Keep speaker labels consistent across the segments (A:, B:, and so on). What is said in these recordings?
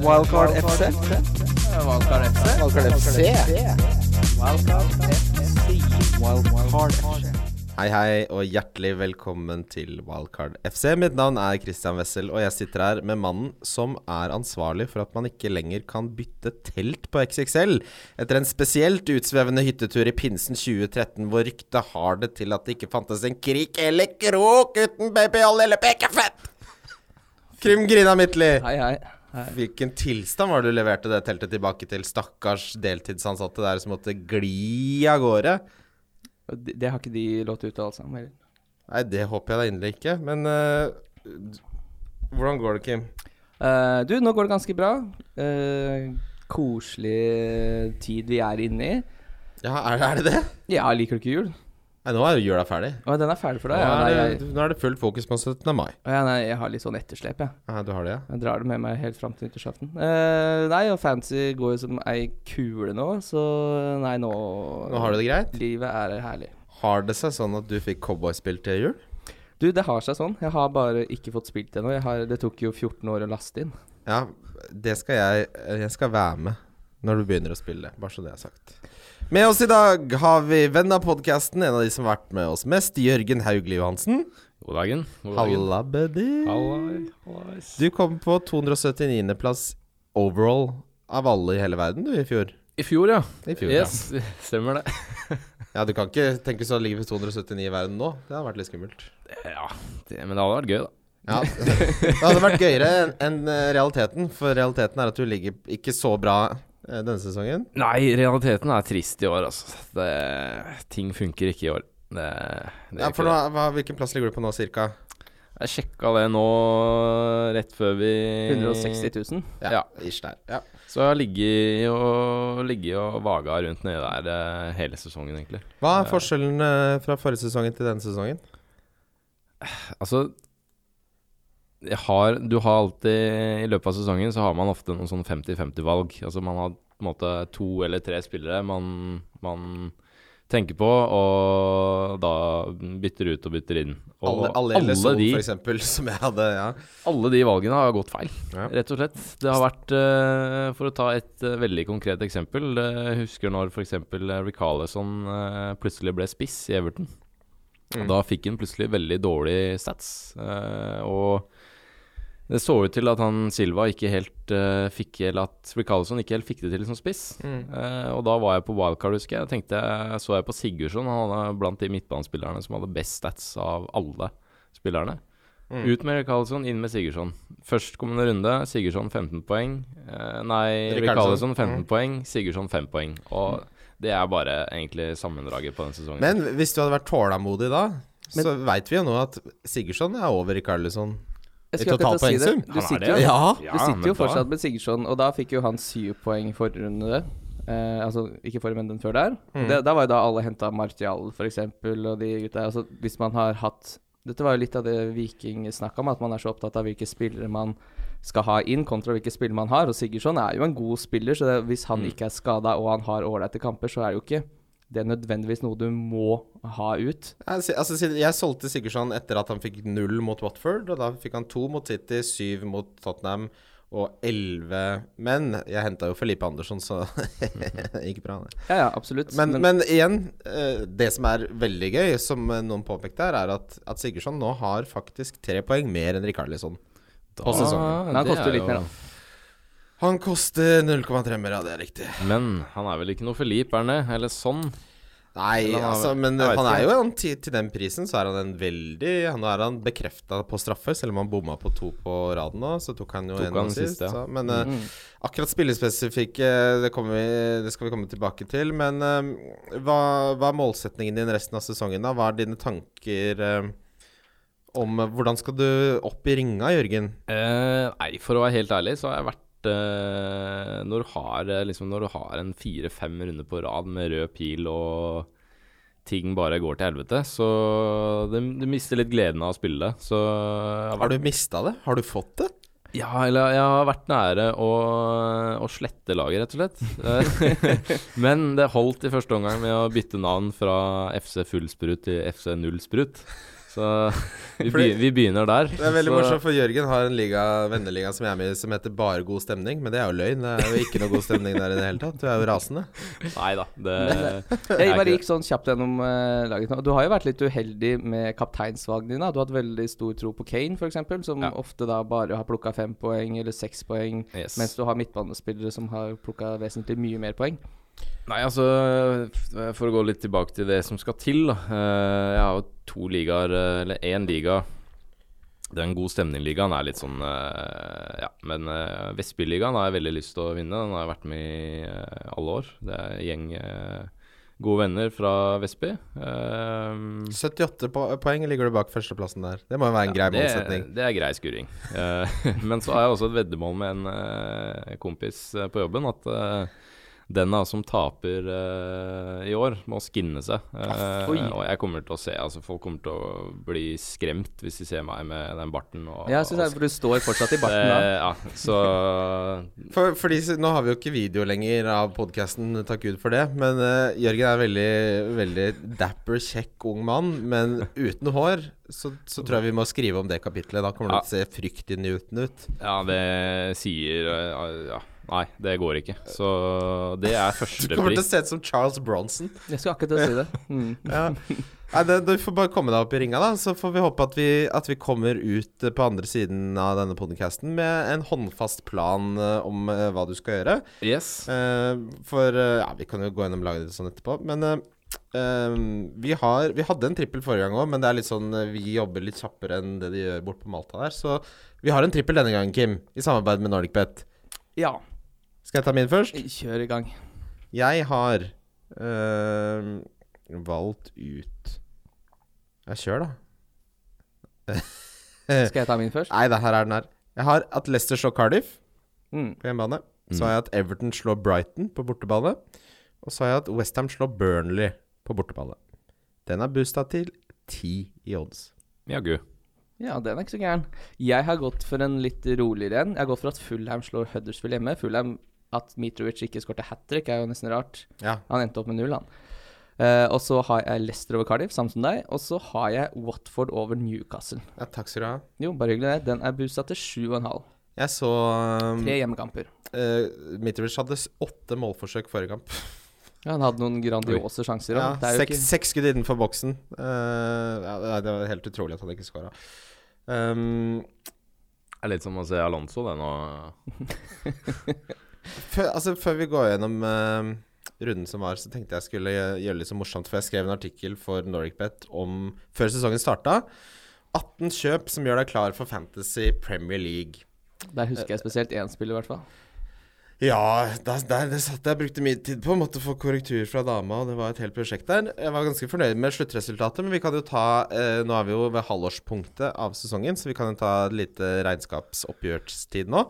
A: Wildcard FC.
B: Valkar FC.
A: Wildcard FC. Wildcard FC.
C: Hei, hei, og hjertelig velkommen til Wildcard FC. Mitt navn er Christian Wessel, og jeg sitter her med mannen som er ansvarlig for at man ikke lenger kan bytte telt på XXL etter en spesielt utsvevende hyttetur i pinsen 2013, hvor ryktet har det til at det ikke fantes en krik eller krok uten babyolje eller pekefett! Krim Grina Midtly,
B: Hei, hei. hei.
C: hvilken tilstand var det du leverte det teltet tilbake til stakkars deltidsansatte der som måtte gli av gårde?
B: Det, det har ikke de lov til å uttale seg om heller.
C: Nei, det håper jeg da inderlig ikke. Men eh, d- hvordan går det, Kim?
B: Eh, du, nå går det ganske bra. Eh, koselig tid vi er inne i.
C: Ja, er, er det det?
B: Ja, liker du ikke jul?
C: Nei, nå er jo jula ferdig.
B: Å, den er ferdig for
C: Nå
B: deg? Ja, nei,
C: er,
B: jeg,
C: det, nå er det fullt fokus på 17. mai.
B: å, ja, nei, jeg har litt sånn etterslep, jeg.
C: Ja, du har det, ja?
B: Jeg drar det med meg helt fram til nyttårsaften. Eh, nei, og fancy går jo som ei kule nå, så nei, nå
C: Nå har du det greit?
B: Livet er herlig.
C: Har det seg sånn at du fikk cowboyspill til jul?
B: Du, det har seg sånn. Jeg har bare ikke fått spilt det ennå. Jeg har- Det tok jo 14 år å laste inn.
C: Ja, det skal jeg Jeg skal være med når du begynner å spille, bare så det er sagt. Med oss i dag har vi venn av podkasten, en av de som har vært med oss mest, Jørgen Hauglie Johansen.
D: God dagen. God dagen.
C: Halla, buddy.
D: Hallai, hallais.
C: Du kom på 279.-plass overall av alle i hele verden, du, i fjor.
D: I fjor, ja.
C: I fjor,
D: yes, Stemmer det.
C: ja. ja. Du kan ikke tenke så å ligge på 279 i verden nå. Det hadde vært litt skummelt.
D: Ja, det, Men det hadde vært gøy, da.
C: Ja, Det hadde vært gøyere enn enn, eh, realiteten, for realiteten er at du ligger ikke så bra eh, denne sesongen.
D: Nei, realiteten er trist i år, altså. Det, ting funker ikke i år. Det, det
C: Ja,
D: gjør
C: for
D: ikke
C: nå,
D: det.
C: hva, Hvilken plass ligger du på nå, cirka?
D: Jeg sjekka det nå rett før vi
C: Eh,
B: 160 000.
D: Ja.
C: Ish der. Ja.
D: Så jeg har ligget og, ligget og vaga rundt nedi der eh, hele sesongen, egentlig.
C: Hva er forskjellen eh, fra forrige sesongen til denne sesongen?
D: Altså jeg har, Du har alltid I løpet av sesongen så har man ofte noen sånn 50-50-valg. Altså man har på en måte to eller tre spillere man, man tenker på, og da bytter ut og bytter inn. Og
C: Alle, alle,
D: alle,
C: LSO,
D: de,
C: for eksempel, som jeg hadde. Ja.
D: alle de valgene har gått feil,
C: Ja.
D: rett og slett. Det har vært eh, For å ta et eh, veldig konkret eksempel. eh, Jeg husker når f.eks. Ricarlison uh, plutselig ble spiss i Everton.
C: Mm.
D: Da fikk han plutselig veldig dårlig stats. eh, og det så ut til at han Silva ikke helt eh, fikk Eller at Ricarlison ikke helt fikk det til som spiss.
C: Mm.
D: Eh, og da var jeg på wildcard, husker jeg. Da tenkte jeg, så jeg på Sigurdsson. Han var blant de midtbanespillerne som hadde best stats av alle spillerne.
C: Mm.
D: Ut med Rikarlsson, inn med Sigurdsson. Førstkommende runde, Sigurdsson 15 poeng. Eh, nei, Rikarlsson
C: Rikarlsson,
D: 15
C: mm.
D: poeng, Sigurdsson 5 poeng. Og det er bare egentlig sammendraget på den sesongen.
C: Men hvis du hadde vært tålmodig da, så veit vi jo nå at Sigurdsson er over Rikarlison.
B: Jeg
C: I
B: skulle akkurat til å si det.
C: totalpoengsum?
B: Du
D: Han er
B: sitter jo,
D: det.
B: du sitter
D: men
B: jo
D: da-
B: fortsatt med Sigurdsson, og da fikk jo han syv poeng forrige runde. Eh, altså ikke forrige, men den før der. Det, da var jo da alle henta Martial, f.eks., og de gutta der. Altså, hvis man har hatt Dette var jo litt av det Viking snakka om, at man er så opptatt av hvilke spillere man skal ha inn, kontra hvilke spillere man har. Og Sigurdsson er jo en god spiller, så det, hvis
D: Mm.
B: han ikke er skada og han har ålreite kamper, så er det jo ikke det er nødvendigvis noe du må ha ut.
C: Jeg, si- altså, si- jeg solgte Sigurdsson etter at han fikk null mot Watford, og da fikk han to mot City, syv mot Tottenham og elleve Men jeg henta jo Felipe Andersson, så det gikk bra, det.
B: Ja, ja, absolutt.
C: Men, men, igjen, eh, det som er veldig gøy, som eh, noen påpekte her, er at, at Sigurdsson nå har faktisk tre poeng mer enn Rikarlisson.
D: på
C: sesongen.
B: Men han koster Ah, jo litt mer, da.
C: Han koster 0,3 mer, ja, det er riktig.
D: Men han er vel ikke noe Filip, er han det? Eller sånn?
C: Nei,
D: Eller han har-
C: altså, men
D: jeg vet
C: han
D: ikke.
C: er jo en, til, til den prisen så er han en veldig Nå er han bekrefta på straffer, selv om han bomma på to på raden nå. Så tok han jo
D: Tok
C: en
D: han
C: nå sist.
D: sist, ja. Mm.
C: Så, men eh, akkurat spillespesifikke, det, kommer vi- det skal vi komme tilbake til. Men eh, hva, hva er målsetningen din resten av sesongen, da? Hva er dine tanker eh, om eh, Hvordan skal du opp i ringa, Jørgen?
D: Eh, nei, for å være helt ærlig, så har jeg vært eh, når, du har, eh, liksom, når du har en fire-fem runder på rad med rød pil og ting bare går til helvete, så du, du mister litt gleden av å spille. Så jeg har,
C: Har du mista det? Har du fått det?
D: vært, ja, eller, jeg har vært nære å, å slette laget, rett og slett. Eh, Men det holdt i første omgang med å bytte navn fra FC Fullsprut til FC Nullsprut. Så vi,
C: Fordi-
D: begy- vi begynner der.
C: Det er veldig
D: så,
C: morsomt, for Jørgen har en liga, venneliga som jeg er med i som heter Bare god stemning, men det er jo løgn. Det er jo ikke noe god stemning der i det hele tatt. Du er jo rasende.
D: Nei da, det
C: eh,
B: Jeg
D: er
B: bare
D: ikke
B: gikk sånn kjapt gjennom eh, laget nå. Du har jo vært litt uheldig med kapteinsvalgene dine. da. Du har hatt veldig stor tro på Kane, f.eks., som
D: Ja.
B: ofte da bare har plukka fem poeng eller seks poeng,
D: Yes.
B: mens du har midtbanespillere som har plukka vesentlig mye mer poeng.
D: Nei, altså f- For å gå litt tilbake til det som skal til, da. Eh, Jeg har jo to ligaer, eh, eller én liga. Den god stemning-ligaen er litt sånn eh, Ja, men eh, Vestbyligaen har jeg veldig lyst til å vinne. Den har jeg vært med i eh, alle år. Det er en gjeng eh, gode venner fra Vestby. Eh,
C: 78 po poeng ligger du bak førsteplassen der. Det må jo være en grei
D: det,
C: målsetning.
D: det er grei skuring. Eh, men så har jeg også et veddemål med en eh, kompis eh, på jobben at eh, den da som taper eh, i år, må skinne seg. Eh,
B: Oi.
D: og jeg kommer til å se altså Folk kommer til å bli skremt hvis de ser meg med den barten. Og,
B: Ja, jeg synes det, er-
D: og
B: for du står fortsatt i barten da.
D: Eh, ja, så
C: For, fordi s- Nå har vi jo ikke video lenger av podkasten, takk Gud for det. Men eh, Jørgen er veldig, veldig dapper, kjekk ung mann. Men uten hår så, så tror jeg vi må skrive om det kapitlet. Da kommer
D: Ja.
C: det til å se fryktinngytende ut.
D: Ja, det sier eh, Ja. Nei, det går ikke. Så det er
C: Du kommer til å
D: førstepris.
C: se ut som Charles Bronson.
B: Jeg skulle akkurat til å si det. Mm.
C: Ja. Nei, det, du får bare komme deg opp i ringa, da. Så får vi håpe at vi, at vi kommer ut eh, på andre siden av denne podcasten med en håndfast plan eh, om eh, hva du skal gjøre.
D: Yes.
C: Eh, for eh, Ja, vi kan jo gå gjennom laget ditt sånn etterpå. Men eh, eh, vi, har, vi hadde en trippel forrige gang òg, men det er litt sånn eh, vi jobber litt kjappere enn det de gjør bort på Malta der. Så vi har en trippel denne gangen, Kim, i samarbeid med NordicBet.
B: Ja,
C: Skal jeg ta min først?
B: kjør i gang.
C: Jeg har øhm, valgt ut Jeg kjør, da.
B: Skal jeg ta min først?
C: Nei da, her er den her. Jeg har at Leicester slår Cardiff
B: Mm.
C: på hjemmebane. Så har jeg at Everton slår Brighton på bortebane. Og så har jeg at Westham slår Burnley på bortebane. Den er boosta til ti i odds.
D: Jaggu.
B: Ja, den er ikke så gæren. Jeg har gått for en litt roligere en. Jeg har gått for at Fulham slår Huddersfield hjemme. Fulham at Mitrovic ikke skårte hat trick, er jo nesten rart.
C: Ja.
B: Han endte opp med null, han. Eh, og så har jeg Leicester over Cardiff, samme som deg. Og så har jeg Watford over Newcastle.
C: ja, takk skal du ha.
B: Jo, bare hyggelig, det. Den er boosta til 7,5.
C: Jeg så um, eh,
B: Tre hjemmekamper.
C: Mitrovic hadde s- åtte målforsøk forrige kamp.
B: Ja, han hadde noen grandiose sjanser.
C: Ja,
B: Ja, det er jo
C: seks, seks skudd innenfor boksen. Eh, ja, det- det var helt utrolig at han ikke scora. Um,
D: Det er litt som å se Alonso, det nå.
C: før, altså, før vi går gjennom eh, runden som var, så tenkte jeg skulle gjø- gjøre det litt så morsomt, for jeg skrev en artikkel for NoricBet om før sesongen starta. 18 kjøp som gjør deg klar for Fantasy Premier League.
B: ikke Der husker jeg spesielt én spiller, i hvert fall.
C: Ja, der, der, det satt jeg og brukte mye tid på. Måtte få korrektur fra dama, og det var et helt prosjekt der. Jeg var ganske fornøyd med sluttresultatet, men vi kan jo ta eh, Nå er vi jo ved halvårspunktet av sesongen, så vi kan jo ta et lite regnskapsoppgjørstid nå.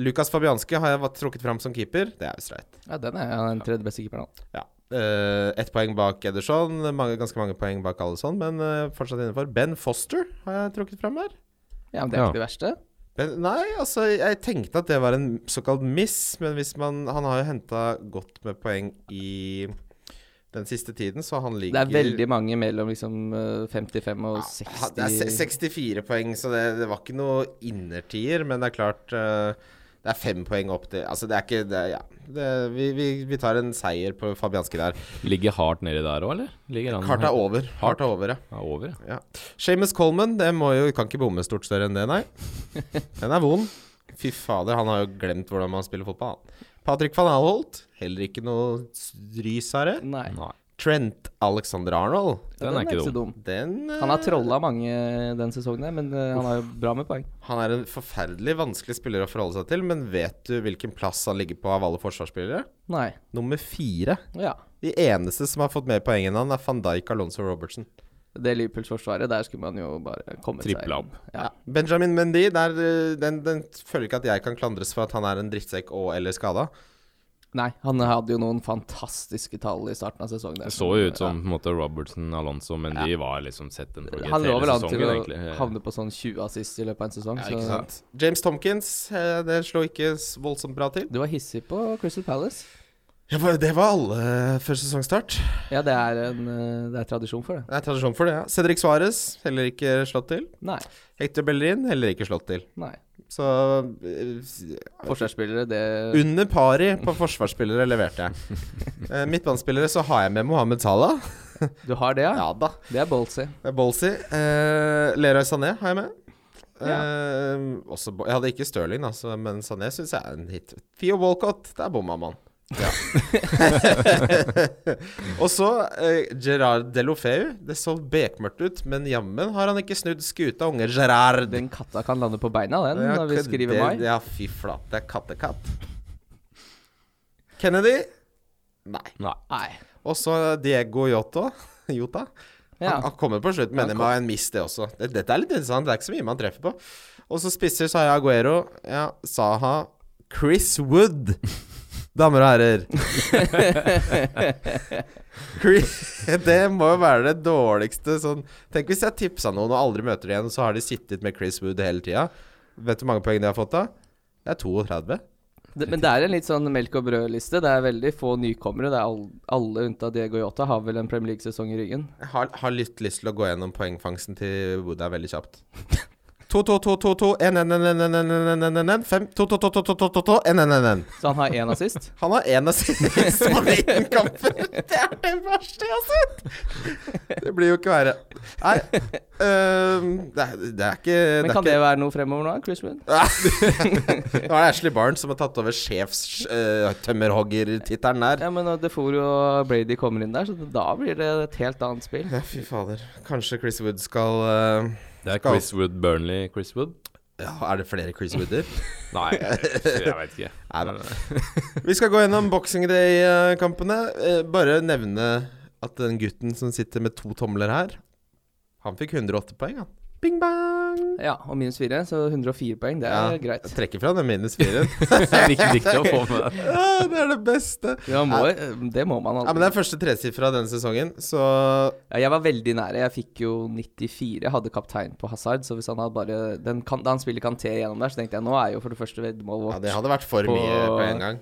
C: Lukas Fabianski har jeg vært trukket fram som keeper. Det er jo streit.
B: Ja, den er han er den tredje beste keeperen. han.
C: Ja. Eh, Ett poeng bak Ederson, mange, ganske mange poeng bak Alison, men eh, fortsatt innenfor. Ben Foster har jeg trukket fram her.
B: Ja, men det er
D: Ja.
B: ikke det verste.
C: Men, nei, altså, jeg tenkte at det var en såkalt miss, men hvis man Han har jo henta godt med poeng i den siste tiden, så han
B: Det
C: ligger
B: er veldig mange mellom liksom eh, 55 og
C: Ha- Det er
B: 60
C: se- 64 poeng, så det, det var ikke noe innertier, men det er klart eh, Det er fem poeng opp til Altså, det er ikke det, er- Ja. Det, vi, vi, vi tar en seier på Fabianski der.
D: Ligger hardt nedi der òg, eller? Ligger han
C: Kart er over. Kart er over, ja.
D: Ja, over, ja.
C: ja. Seamus Coleman, det må jo Kan ikke bomme stort større enn det, nei. Den er vond. Fy fader, han har jo glemt hvordan man spiller fotball. han. Patrick van Alholt, heller ikke noe s- rys av det.
B: Nei,
D: Nei,
C: Trent Alexander Arnold,
D: den, er ikke dum.
C: den eh,
B: Han har trolla mange den sesongen, her, men eh, han har jo bra med poeng.
C: han er en forferdelig vanskelig spiller å forholde seg til, men vet du hvilken plass han ligger på av alle forsvarsspillere?
B: Nei.
C: Nummer fire.
B: Ja.
C: De eneste som har fått mer poeng enn han, er van Dijk Alonso Robertson.
B: Det Liverpools-forsvaret, der skulle man jo bare komme
D: Tripla opp.
B: Ja.
C: Benjamin Mendy, der, eh, den, den føler ikke at jeg kan klandres for at han er en drittsekk og eller skada.
B: Nei, han hadde jo noen fantastiske tall i starten av sesongen. der.
D: Det så jo ut som på en måte Robertson, Alonso, men de var liksom sett en
B: Ja.
D: forget
B: Han lå vel
D: hele
B: an til
D: sesongen,
B: å
D: egentlig.
B: havne på sånn 20 assist i løpet av en sesong.
C: Ja, ikke
B: så
C: sant. James Tompkins, eh, det slår ikke s- voldsomt bra til.
B: du var hissig på Crystal Palace.
C: Ja, bare- det var alle før sesongstart.
B: Ja, det er, en, eh, det er tradisjon for det.
C: Det er tradisjon for det, ja. Cedric Suárez, heller ikke slått til.
B: Nei.
C: Hector Bellerin, heller ikke slått til.
B: nei.
C: Så eh,
B: Forsvarsspillere, det
C: under pari på forsvarsspillere leverte jeg. Eh, Midtbanespillere så har jeg med Mohammed Salah.
B: Du har det, ja?
C: Ja da.
B: Det er ballsy.
C: Det er ballsy. Eh, Leroy Sané har jeg med. Eh, også, bo- jeg hadde ikke Stirling, da, så- men Sané syns jeg er en hit. Theo Walcott, der bomma man. og så eh, Gerard Delofeu. Det så bekmørkt ut, men jammen har han ikke snudd skuta, unge Gerard.
B: Den katta kan lande på beina, den,
C: Ja,
B: når vi
C: kødder-
B: skriver mai.
C: Ja, fy flate. Kattekatt. Kennedy? Nei.
D: Nei.
B: Nei.
C: Og så Diego Yota. Jota.
B: Ja.
C: Han, han kommer på slutten, men det må være en miss, det også. Det- Dette er litt interessant. Det er ikke så mye man treffer på. Og så spisser så har jeg Aguero, ja, Saha, Chris Wood. Damer og herrer. Chris, det må jo være det dårligste sånn Tenk hvis jeg tipsa noen og aldri møter igjen, og så har de sittet med Chris Wood hele tida. Vet du hvor mange poeng de har fått da? Det er 32.
B: Det, men det er en litt sånn melk og brød-liste. Det er veldig få nykommere. Det er all, alle unntatt Diego Yota har vel en Premier League-sesong i ryggen.
C: Jeg har, har litt lyst til å gå gjennom poengfangsten til Buddha veldig kjapt. 2-2-2-2-2-1-1-1-1-1-1-1-1-1 5-2-2-2-2-2-2-1-1-1-1
B: Så han har én assist.
C: Han har én assist på 19 kamper! Det er det verste jeg har sett! Det blir jo ikke verre. Nei øhm, det, er, det er ikke
B: Men
C: det er
B: kan det
C: ikke,
B: være noe fremover nå, Chris Wood?
C: Nå er det Ashley Barnes som har tatt over sjefstømmerhoggertittelen der.
B: Ja, men når DeFore og Brady kommer inn der, så da blir det et helt annet spill.
C: Ja, fy fader. Kanskje Chris Wood skal øh,
D: Det er
C: Skal-
D: Chris Wood Burnley, Chris Wood?
C: Ja, er det flere Chris Wooder?
D: Nei, jeg veit ikke.
C: Nei da. Vi skal gå gjennom Boxing Day-kampene. Eh, Bare nevne at den gutten som sitter med to tomler her, han fikk 108 poeng, han. Bing bang!
B: Ja, og minus fire, så 104 poeng, det er
C: Ja,
B: greit.
C: Jeg trekker fra den minus firen.
D: Det er viktig, viktig å få med det.
C: Ja, det er det beste.
B: Ja, må, det må man
C: Ja, men
B: aldri.
C: det er første tresifra denne sesongen, så
B: Ja, jeg var veldig nære. Jeg fikk jo 94. Jeg hadde kaptein på Hazard, så hvis han hadde bare den kan, Da han spiller Kanté gjennom der, så tenkte jeg nå er jo for det første veddemålet
C: ja,
B: vårt
C: det hadde vært for
B: På-
C: mye på en gang.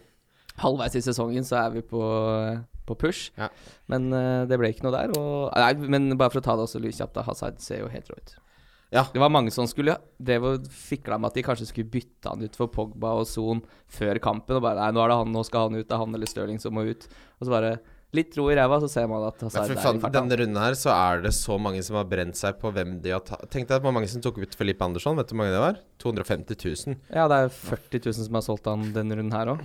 B: halvveis i sesongen så er vi på, eh, på push.
C: Ja.
B: Men eh, det ble ikke noe der. Og, nei, men bare for å ta det også lyskjapt, da. Hazard ser jo helt rå ut.
C: Ja.
B: Det var mange som skulle drev og fikla med at de kanskje skulle bytte han ut for Pogba og Son før kampen. Og bare nei, nå er det han, nå skal han ut. Det er han eller Stirling som må ut. Og så bare litt ro i ræva, så ser man at
C: Men
B: Hazard
C: for
B: er
C: faen,
B: i farta.
C: denne runden her så er det så mange som har brent seg på hvem de har tatt Tenk deg hvor mange som tok ut Felipe Andersson. Vet du hvor mange det var? 250 000.
B: Ja, det er 40 000 som har solgt han denne runden her òg.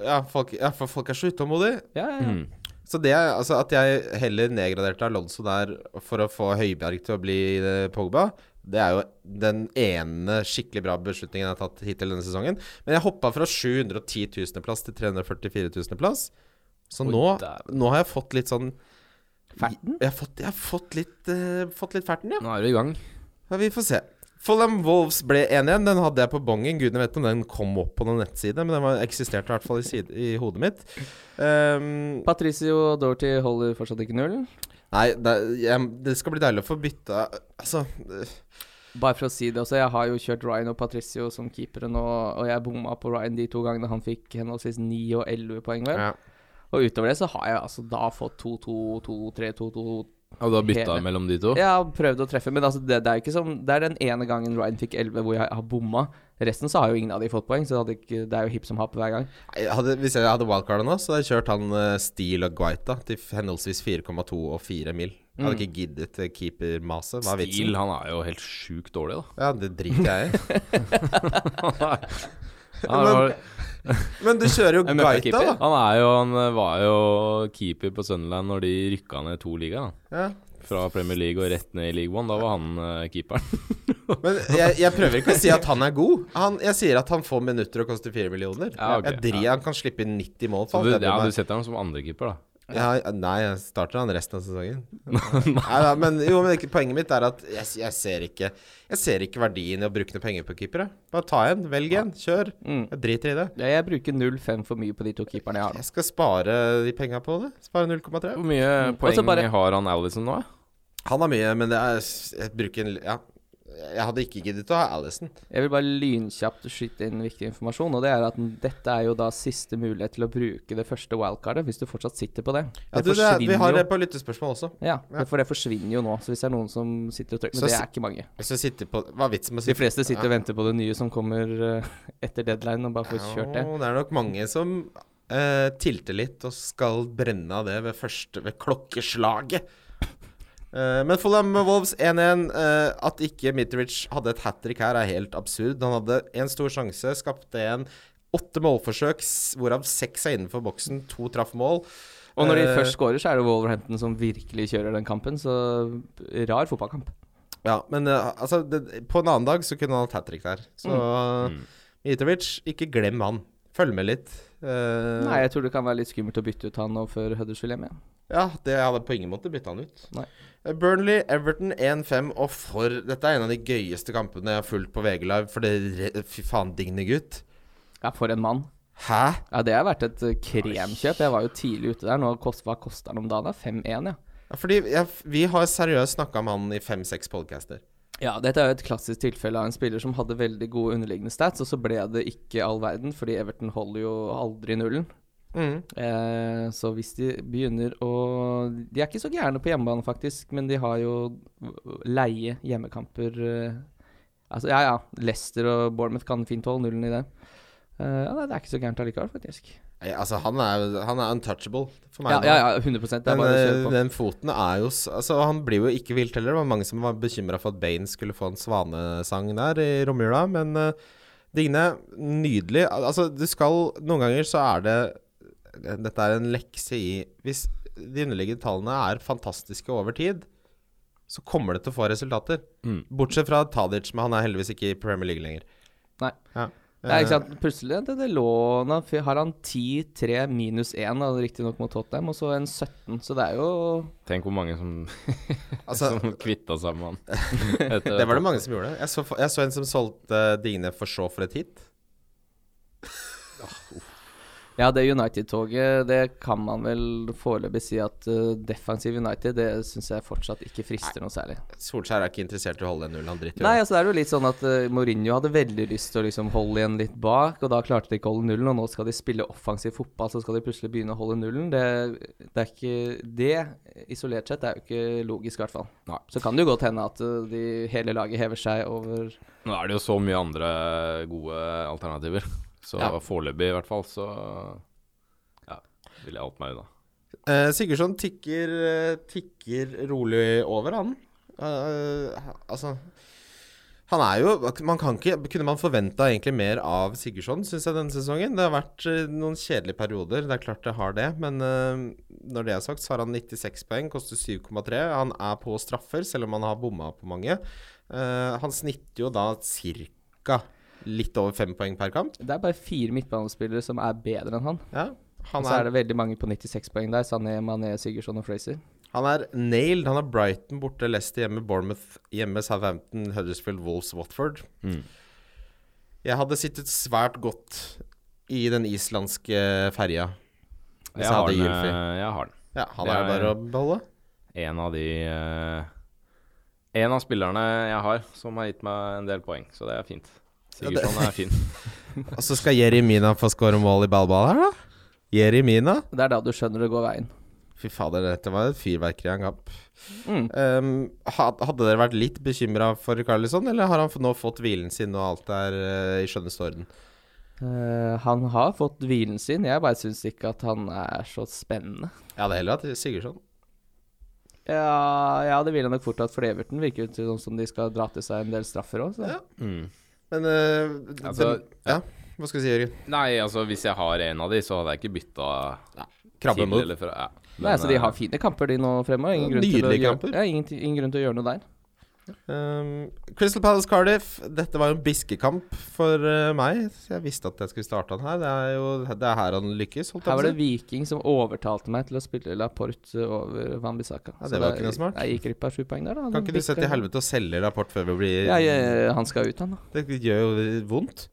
C: Ja, folk, ja, for folk er så utålmodige.
B: Ja, ja, ja.
D: Mm.
C: Så det er, altså At jeg heller nedgraderte Alonso der for å få Høibjerg til å bli eh, Pogba, det er jo den ene skikkelig bra beslutningen jeg har tatt hittil denne sesongen. Men jeg hoppa fra 710 000. plass til 344 000. plass. Så
D: Oi,
C: nå,
D: dæven.
C: nå har jeg fått litt sånn
B: Ferten?
C: Jeg har fått, jeg har fått, litt, eh, fått litt ferten, ja.
D: Nå er du i gang.
C: ja. Vi får se. Fulham Wolves ble 1-1. Den hadde jeg på bongen. Gudene vet om den kom opp på noen nettside, men den var, eksisterte i hvert fall i, side, i hodet mitt. Um,
B: Patricio og Dorothy holder fortsatt ikke null.
C: Nei, det, jeg, det skal bli deilig å få bytta Altså øh,
B: Bare for å si det også, jeg har jo kjørt Ryan og Patricio som keepere nå, og jeg bomma på Ryan de to gangene han fikk henholdsvis 9 og 11 poeng, vel.
C: ja.
B: Og utover det så har jeg altså da fått 2-2-2-3-2-2
D: Og du har bytta
B: Hele.
D: mellom de to?
B: Jeg har prøvd å treffe, men altså det, det er jo ikke som Det er den ene gangen Ryan fikk 11 hvor jeg har bomma. Resten så har jo ingen av de fått poeng, så det, hadde ikke, det er jo hipp som happ hver gang.
C: Nei, jeg hadde, Hvis jeg hadde wildcarda nå, så hadde jeg kjørt han eh, Steele og Guaita til henholdsvis 4,2 og 4 mil. Jeg
D: Mm.
C: hadde ikke giddet eh, keepermaset. Hva er vitsen?
D: Stil, han er jo helt sjukt dårlig, da.
C: Ja, det driter jeg i.
D: Han var,
C: Men du kjører jo
B: En møkkakeeper.
C: Guaita, da.
D: han, er jo, han var jo keeper på Sunderland når de rykka ned to ligaer. da.
C: Ja.
D: Fra Premier League og rett ned i League One. Da var han eh, keeperen.
C: Men jeg, jeg prøver ikke å si at han er god. Han, jeg sier at han får minutter og koster 4 millioner.
D: Ja, ok,
C: jeg driter, Han kan slippe inn 90 mål.
D: Så
C: for
D: du,
C: alt jeg
D: ja,
C: bryr meg.
D: du setter ham som andrekeeper, da.
C: Ja, nei, jeg starter han resten av sesongen. nei da, men jo, men ikke- poenget mitt er at jeg, jeg, ser ikke, jeg ser ikke verdien i å bruke noe penger på keepere. Bare ta en, velg en, kjør.
B: Mm.
C: Jeg driter i det.
B: Jeg, jeg bruker 0-5 for mye på de to keeperne jeg har
C: Jeg
B: nå.
C: skal spare de penga på det. Spare 0,3.
D: Hvor mye
B: Og så
D: poeng
B: bare-
D: har han Alison nå?
C: Han har mye, men det er Jeg bruker en Ja. Jeg hadde ikke giddet å ha Alison.
B: Jeg vil bare lynkjapt skyte inn viktig informasjon, og det er at den- dette er jo da siste mulighet til å bruke det første wildcardet, hvis du fortsatt sitter på det.
C: Ja, du, det, vi har det på lyttespørsmål også.
B: jo. Ja, for det forsvinner jo nå, så hvis det er noen som sitter og trykker
C: Så
B: Men det
C: si-
B: er ikke mange.
C: Hvis du sitter på Hva er vitsen med å
B: De fleste sitter og venter på det nye som kommer eh, etter deadline, og bare får kjørt det.
C: Ja, det er nok mange som eh, tilter litt og skal brenne av det ved, første, ved klokkeslaget. Eh, men Fulham Wolves 1-1. eh, at ikke Mitrovic hadde et hat trick her, er helt absurd. Han hadde en stor sjanse, skapte en åtte målforsøk, s- hvorav seks er innenfor boksen, to traff mål.
B: Og når de
C: Eh,
B: først scorer, så er det Wolverhampton som virkelig kjører den kampen, så rar fotballkamp.
C: Ja, men eh, altså, det, på en annen dag så kunne han hatt hat trick der. Så
B: Mm.
C: Mitrovic, ikke glem han. Følg med litt. Eh,
B: Nei, jeg tror det kan være litt skummelt å bytte ut han nå før Huddersfield hjemme.
C: Ja, det jeg hadde på ingen måte bytta han ut.
B: Nei.
C: Eh, Burnley, Everton 1-5 og for Dette er en av de gøyeste kampene jeg har fulgt på VG Live, for det re- Fy faen, digne gutt.
B: Ja, for en mann.
C: Hæ?
B: Ja, det har vært et eh, kremkjøp. Jeg var jo tidlig ute der. Nå kost, hva koster han om dagen? da? 5-1, ja.
C: Ja, fordi jeg, vi har seriøst snakka om han i fem-seks podcaster.
B: Ja, dette er jo et klassisk tilfelle av en spiller som hadde veldig gode underliggende stats, og så ble det ikke all verden, fordi Everton holder jo aldri nullen.
C: Mm.
B: Eh, så hvis de begynner å De er ikke så gærne på hjemmebane, faktisk, men de har jo leie hjemmekamper eh, Altså, ja ja, Leicester og Bournemouth kan fint holde nullen i det. Eh, ja, nei, det er ikke så gærent allikevel, faktisk.
C: Nei, Altså, han er, han er untouchable for meg.
B: Ja,
C: nå.
B: ja, ja, 100 Det er
C: Den,
B: bare å
C: eh,
B: kjøre på.
C: den foten er jo s- Altså, han blir jo ikke vilt heller. Det var mange som var bekymra for at Bane skulle få en svanesang der i romjula, men eh, Digne, nydelig. Al- Altså, du skal Noen ganger så er det Dette er en lekse i Hvis de underliggende tallene er fantastiske over tid, så kommer det til å få resultater.
D: Mm.
C: Bortsett fra Tadic, men han er heldigvis ikke i Premier League lenger. Eh,
B: Nei.
C: Ja.
B: Ja, ikke sant. Plutselig det, det lå nå f- har han 10-3 minus 1, riktignok mot Tottenham, og så en 17, så det er jo
D: Tenk hvor mange som,
C: Eh, altså,
D: som kvitta seg med han. Etter
C: det var det mange som gjorde. Jeg så, jeg så en som solgte eh, Digne for så for et hit.
B: Ja, det United-toget, det kan man vel foreløpig si at eh, defensiv United, det syns jeg fortsatt ikke frister noe særlig.
C: Solskjær er ikke interessert i å holde den nullen. Han driter i
B: Nei,
C: det.
B: altså det er jo litt sånn at eh, Mourinho hadde veldig lyst til å liksom holde igjen litt bak, og da klarte de ikke å holde nullen, og nå skal de spille offensiv fotball, så skal de plutselig begynne å holde nullen. Det, det er ikke Det, isolert sett, er jo ikke logisk, i hvert fall.
D: Nei.
B: Så kan det jo godt hende at eh, de, hele laget hever seg over
D: Nå er det jo så mye andre gode alternativer. Så
C: Ja.
D: foreløpig, i hvert fall, så ja, vil jeg holdt meg unna.
C: Eh, Sigurdsson tikker, eh, tikker rolig over, han. Eh, altså Han er jo man kan ikke, Kunne man forventa egentlig mer av Sigurdsson, syns jeg, denne sesongen? Det har vært eh, noen kjedelige perioder, det er klart det har det. Men eh, når det er sagt, så har han 96 poeng, koster 7,3. Han er på straffer, selv om han har bomma på mange. Eh, han snitter jo da ca. litt over fem poeng per kamp.
B: Det er bare fire midtbanespillere som er bedre enn han.
C: Ja, han
B: Og så er det veldig mange på 96 poeng der. Sané, Mané, Sigurdsson og Fraser.
C: Han er nailed. Han har Brighton borte, Leicester hjemme, Bournemouth hjemme, Southampton, Huddersfield, Wolves, Watford.
D: Mm.
C: Jeg hadde sittet svært godt i den islandske ferja. Hvis jeg
D: Jeg har,
C: hadde
D: den,
C: Gylfi.
D: eh, jeg har den.
C: Ja, han
D: Det
C: er det
D: er-
C: bare å beholde.
D: En av de eh, En av spillerne jeg har som har gitt meg en del poeng, så det er fint.
C: Ja, det-
D: Sigurdsson er fin.
C: Og så skal Jeremina få score mål i ballball her, da. Jeremina.
B: Det er da du skjønner det går veien.
C: Fy fader, dette var et fyrverkeri av en kamp.
B: Mm.
C: Um, had- hadde dere vært litt bekymra for Carlisson, eller har han f- nå fått hvilen sin og alt er eh, i skjønneste orden?
B: Eh, han har fått hvilen sin. Jeg bare syns ikke at han er så spennende.
C: Jeg hadde heller hatt Sigurdsson.
B: Ja, ja det ville jeg nok fortsatt, for Everton virker jo til sånn som de skal dra til seg en del straffer òg.
C: Ja.
B: Ja.
D: Mm.
C: Men eh, d-
D: Altså,
C: den, ja. Hva skal vi si, Jørgen?
D: Nei, altså hvis jeg har en av de, så hadde jeg ikke bytta til
C: Krabbemot.
D: eller fra. Ja. Men,
B: Nei, så de
D: eh,
B: har fine kamper, de nå fremover. Ingen,
C: Ja,
B: grunn til å
C: nydelige
B: gjøre-
C: kamper.
B: ja, ingen, ingen grunn til å gjøre noe der.
C: Um, Crystal Palace Cardiff. Dette var jo en biskekamp for eh, meg. Så Jeg visste at jeg skulle starte han her. Det er jo det er her han lykkes. Holdt jeg
B: Her
C: på
B: var
C: å
B: det
C: si.
B: Viking som overtalte meg til å spille Laporte over Van Bissaka.
C: Ja, det
B: Så
C: var
B: da-
C: ikke noe smart.
B: Jeg gikk glipp av sju poeng der, da.
C: Kan ikke du se til helvete og selge rapport før vi blir
B: Ja, jeg, han skal ut, han. da
C: Det gjør jo vondt.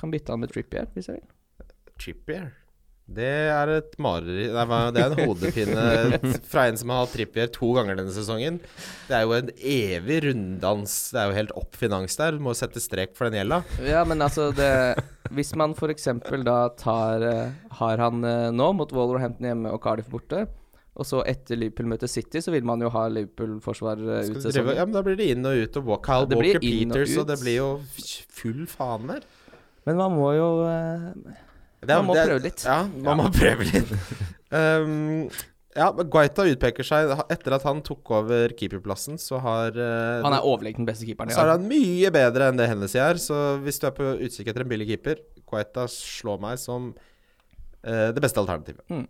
B: Kan bytte han med Trippier, hvis jeg vil.
C: Trippier. Det er et mareritt Nei, hva- det er en hodepine fra en som har hatt Trippier to ganger denne sesongen. Det er jo en evig runddans. Det er jo helt opp finans der. Du må sette strek for den gjelda.
B: Ja, men altså det, Hvis man f.eks. da tar eh, Har han eh, nå mot Wolverhampton hjemme og Cardiff borte, og så etter Liverpool møter City, så vil man jo ha Liverpool-forsvar eh,
C: Skal
B: ut
C: du drive-
B: sesongen.
C: Ja, men da blir det inn og ut og walk. Kyle
B: Ja, det blir
C: Walker
B: inn og
C: Peters,
B: ut.
C: og det blir jo full faen der.
B: Men man må jo eh,
C: Det er-
B: Man må
C: det er-
B: prøve litt.
C: Ja, man må prøve litt. Um, ja, men Guaita utpeker seg Etter at han tok over keeperplassen, så har eh,
B: Han er overlegent den beste keeperen i
C: Så er
B: år.
C: han mye bedre enn det Hennessy er. Så hvis du er på utkikk etter en billig keeper, Quaita slår meg som eh, det beste alternativet.
B: Mm.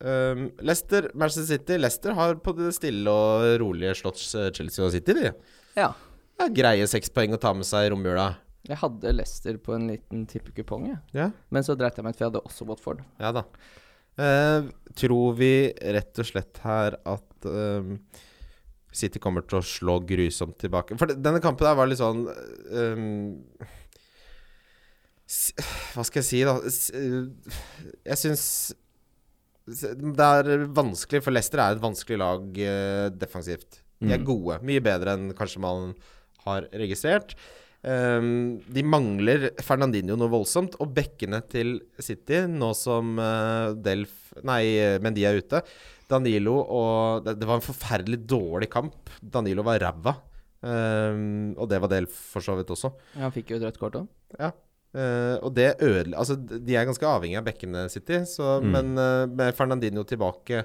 C: Um, Leicester, Manchester City Leicester har på det stille og rolige slått eh, Chelsea og City, de.
B: Ja.
C: Det er greie seks poeng å ta med seg i romjula.
B: Jeg hadde Leicester på en liten tippekupong, jeg.
C: Ja.
B: men så dreit jeg meg ut, for jeg hadde også Watford.
C: Ja da. Eh, tror vi rett og slett her at eh, City kommer til å slå grusomt tilbake? For det- denne kampen her var litt sånn eh, s- Hva skal jeg si, da? S- eh, Jeg syns det er vanskelig, for Leicester er et vanskelig lag eh, defensivt. De er gode. Mye bedre enn kanskje man har registrert. Ehm, de mangler Fernandinho noe voldsomt, og bekkene til City, nå som eh, Delf Nei, eh, Mendy er ute. Danilo og det, det var en forferdelig dårlig kamp. Danilo var ræva. Ehm, og det var Delf for så vidt også.
B: Han fikk jo et rødt kort òg.
C: Ja. Eh, og det ødela Altså, d- de er ganske avhengig av bekkene City, så, men eh, med Fernandinho tilbake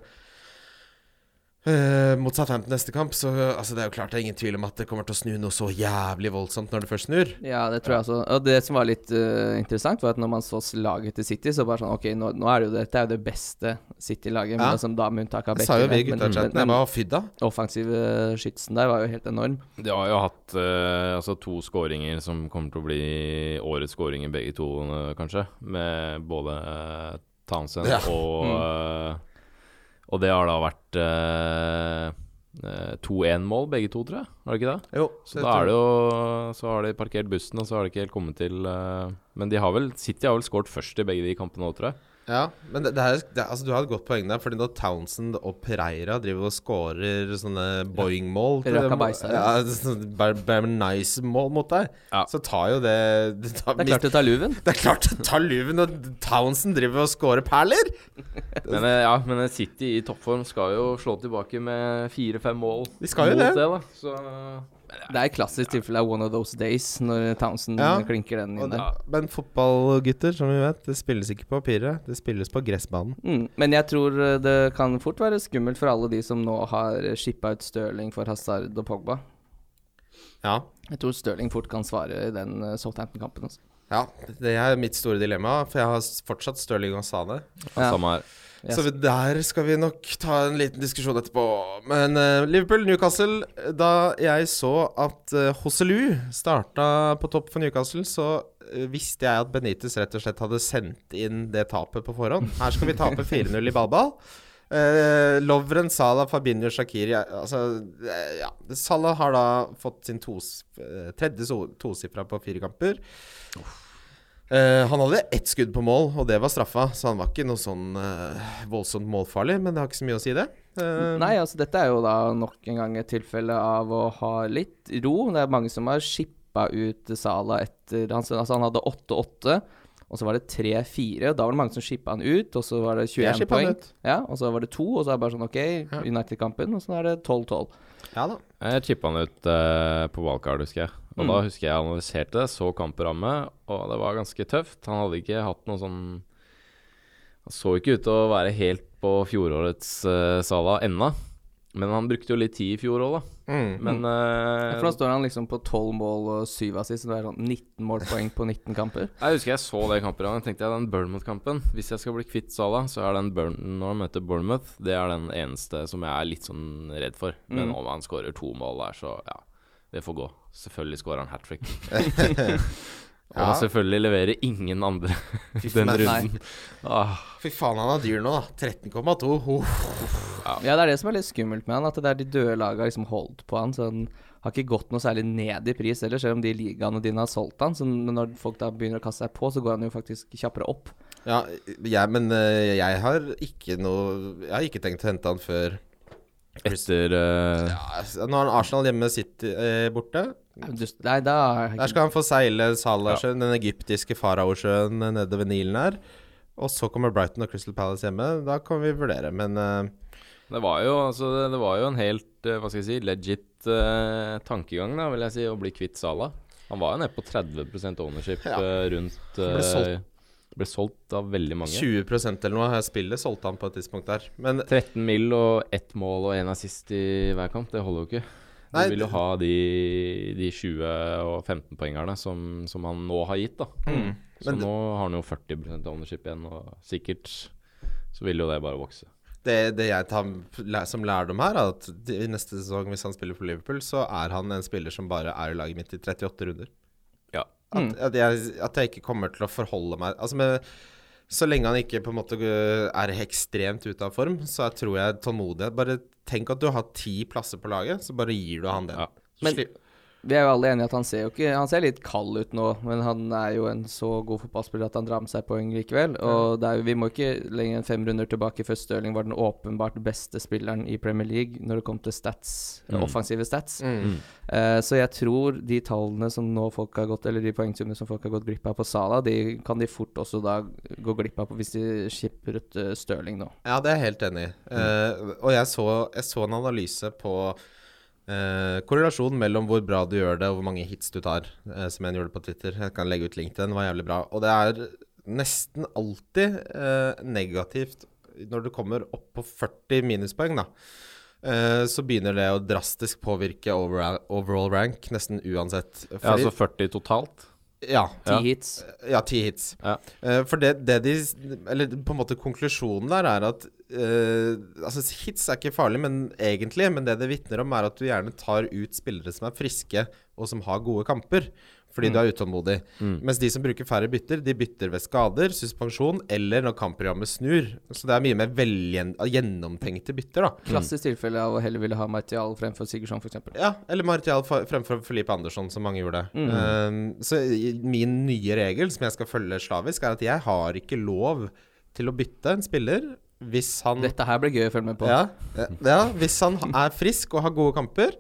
C: eh, mot Southampton neste kamp, så eh, altså, det er jo klart det er ingen tvil om at det kommer til å snu noe så jævlig voldsomt når det først snur.
B: Ja, det tror jeg også. Og det som var litt eh, interessant, var at når man så laget til City, så bare sånn OK, nå, nå er det jo dette er jo det beste City-laget, men
C: Ja.
B: altså, da med unntak av
C: Det sa jo vi i
B: men-
C: gutta i chatten.
B: men-
C: Jeg bare fydda.
B: offensive skytsen der var jo helt enorm.
D: De har jo hatt eh, altså to skåringer som kommer til å bli årets skåringer, begge to, eh, kanskje. Med både eh, Townsend
C: Ja.
D: og eh, Og det har da vært eh, eh, 2-1-mål, begge to, tror jeg. Har det ikke det?
C: Jo,
D: Så da er det jo Så har de parkert bussen, og så har de ikke helt kommet til eh, Men de har vel City har vel skåret først i begge de kampene òg, tror jeg.
C: Ja, men det, det er, det, er- altså, du har et godt poeng der, fordi når Townsend og Pereira driver og scorer sånne boing-mål til-
B: Rakabaisa,
C: Ja, sånn sånne Ber- Bernice-mål mot deg,
D: Ja.
C: så tar jo det Det tar,
B: Det er klart du tar luven.
C: Det er klart det tar luven når Townsend driver og scorer perler!
D: Men eh, ja, men eh, City i toppform skal jo slå tilbake med fire-fem mål.
C: De skal jo
D: mot
C: det.
D: da. Så eh,
B: Det er et klassisk tilfelle av one of those days når Townsend
C: Ja.
B: klinker den inn der.
C: Men fotballgutter, som vi vet, det spilles ikke på papiret. Det spilles på gressbanen.
B: Mm. Men jeg tror eh, det kan fort være skummelt for alle de som nå har shippa ut Stirling for Hazard og Pogba.
C: Ja.
B: Jeg tror Stirling fort kan svare i den eh, Southampton-kampen. Altså.
C: ja. Det er mitt store dilemma, for jeg har fortsatt Stirling og Sane.
B: Ja.
D: Samme her.
B: Yes.
C: Så vi- der skal vi nok ta en liten diskusjon etterpå. Men eh, Liverpool-Newcastle Da jeg så at uh, Hosselu starta på topp for Newcastle, så eh, visste jeg at Benitez rett og slett hadde sendt inn det tapet på forhånd. Her skal vi tape 4-0 i ballball. Eh, Lovren, Salah, Fabinho, Shakiri altså, eh, ja. Salah har da fått sin tos, eh, tredje so- tosifra på fire kamper. Eh, han hadde ett skudd på mål, og det var straffa, så han var ikke noe sånn eh, voldsomt målfarlig, men det har ikke så mye å si, det. Eh,
B: Nei, altså dette er jo da nok en gang et tilfelle av å ha litt ro. Det er mange som har shippa ut Sala etter han, altså, han hadde 8-8, og så var det 3-4. og Da var det mange som shippa han ut, og så var det
C: Jeg
B: 21
C: shippet han
B: poeng.
C: ut.
B: Ja, og så var det to, og så er det bare sånn OK, United-kampen, og så er det 12-12.
C: Ja da.
D: Jeg chippa han ut eh, på wildcard, husker jeg. Og da husker jeg jeg analyserte det, så kamperamme, og det var ganske tøft. Han hadde ikke hatt noe sånn Han så ikke ut til å være helt på fjorårets eh, Sala ennå. Men han brukte jo litt tid i fjor òg, da.
C: Mm.
D: Men eh,
B: For nå står han liksom på 12 mål og 7 assist, så det er sånn 19 målpoeng på 19 kamper.
D: jeg husker jeg så det kampprogrammet. Jeg tenkte jeg den Bournemouth-kampen Hvis jeg skal bli kvitt Sala, så er den Burn når han møter Bournemouth, det er den eneste som jeg er litt sånn redd for. Men
C: Mm.
D: om han skårer to mål der, så ja. Det får gå. Selvfølgelig skårer han hat trick. Og
C: Ja.
D: selvfølgelig leverer ingen andre den
C: faen.
D: runden. Ah,
C: Fy faen, han er dyr nå, da. 13,2. Uff.
B: Ja, det er det som er litt skummelt med han, at det er de døde laga liksom holdt på han, så han har ikke gått noe særlig ned i pris heller, selv om de ligaene dine har solgt han, så når folk da begynner å kaste seg på, så går han jo faktisk kjappere opp.
C: Ja, jeg, men eh, jeg har ikke noe Jeg har ikke tenkt å hente han før
D: Etter eh,
C: ja, Nå har han Arsenal hjemme City eh, borte.
B: Just, nei, da
C: Der skal han få seile Salasjøen, den egyptiske faraosjøen eh, nede ved Nilen her. Og så kommer Brighton og Crystal Palace hjemme. Da kan vi vurdere, men eh,
D: Det var jo, altså, det, det var jo en helt eh, hva skal jeg si, legit eh, tankegang, da, vil jeg si, å bli kvitt Sala. Han var jo nede på 30 ownership
C: Ja.
D: eh, rundt
C: ble solgt.
D: eh, Ble solgt av veldig mange.
C: 20 eller noe av spillet solgte han på et tidspunkt der. Men
D: 13 mil og ett mål og én assist i hver kamp, det holder jo ikke. Du
C: Nei,
D: vil jo ha de, de 20 og 15 poengerne som, som han nå har gitt, da. Så
C: Mm. Men det-
D: nå har han jo 40 ownership igjen, og sikkert så vil jo det bare vokse.
C: det, det jeg tar læ- som lærdom her, er at de- i neste sesong, hvis han spiller for Liverpool, så er han en spiller som bare er i laget mitt i 38 runder.
D: Ja.
C: At, at, jeg, at jeg ikke kommer til å forholde meg Altså, med, så lenge han ikke på en måte øh, er ekstremt ute av form, så jeg tror jeg tålmodighet Bare tenk at du har ti plasser på laget, så bare gir du han den.
D: Ja.
C: Så
B: Men-
C: sli-
B: Vi er jo alle enige at han ser jo ikke Han ser litt kald ut nå, men han er jo en så god fotballspiller at han drar med seg poeng likevel. Og det er, jo- vi må ikke lenger enn fem runder tilbake før Stirling var den åpenbart beste spilleren i Premier League når det kom til stats, offensive stats. Eh, så jeg tror de tallene som nå folk har gått Eller de poengsummene som folk har gått glipp av på Sala, de kan de fort også da gå glipp av på hvis de skipper ut eh, Stirling nå.
C: Ja, det er jeg helt enig i. Eh, og jeg så, jeg så en analyse på eh, korrelasjonen mellom hvor bra du gjør det, og hvor mange hits du tar, eh, som en gjorde på Twitter. Jeg kan legge ut link til den, var jævlig bra. Og det er nesten alltid eh, negativt når du kommer opp på 40 minuspoeng, da. eh, så begynner det å drastisk påvirke overall, overall rank, nesten uansett.
D: Ja,
C: Fordi,
D: altså 40 totalt.
C: ja, Mm.
B: Ti
D: Ja.
B: hits.
C: ja, ti hits.
D: Ja.
C: Eh, for det, det de Eller på en måte konklusjonen der er at eh, Altså, hits er ikke farlig, men egentlig. Men det det vitner om, er at du gjerne tar ut spillere som er friske, og som har gode kamper. Fordi du er utålmodig. Mens de som bruker færre bytter, de bytter ved skader, suspensjon eller når kampprogrammet snur. Så det er mye mer velgjen- gjennomtenkte bytter, da.
B: Klassisk tilfelle av å heller ville ha Martial fremfor Sigurdsson, f.eks.
C: Ja, eller Martial fa- fremfor Felipe Andersson, som mange gjorde.
D: Mm.
C: Um, så i- min nye regel, som jeg skal følge slavisk, er at jeg har ikke lov til å bytte en spiller hvis han
B: Dette her blir gøy å følge med på.
C: ja, eh, ja, hvis han er frisk og har gode kamper,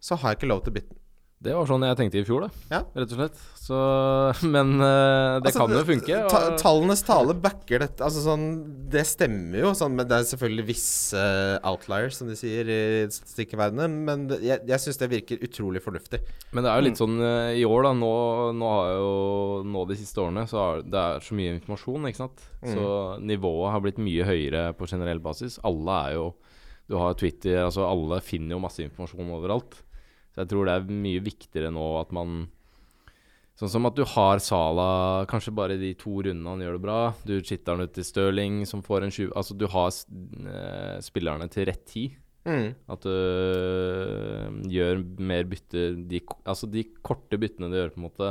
C: så har jeg ikke lov til å bytte. den.
D: Det var sånn jeg tenkte i fjor, da.
C: Ja.
D: Rett og slett. Så, men eh, det
C: Altså,
D: kan jo funke. og-
C: Ta, tallenes tale backer dette. Altså sånn, det stemmer jo, sånn, men det er selvfølgelig visse outliers, som de sier i statistikkverdenen. Men det, jeg, jeg syns det virker utrolig fornuftig.
D: men det er jo litt sånn eh, i år, da. Nå, nå har jo Nå de siste årene så har det er så mye informasjon, ikke sant. Så nivået har blitt mye høyere på generell basis. Alle er jo Du har Twitter, altså alle finner jo masse informasjon overalt. Så jeg tror det er mye viktigere nå at man Sånn som at du har Sala kanskje bare de to rundene han gjør det bra. Du chitter han ut til Stirling, som får en 20 Altså, du har s- eh, spillerne til rett tid. At du gjør mer bytter de, k- Altså de korte byttene du gjør, på en måte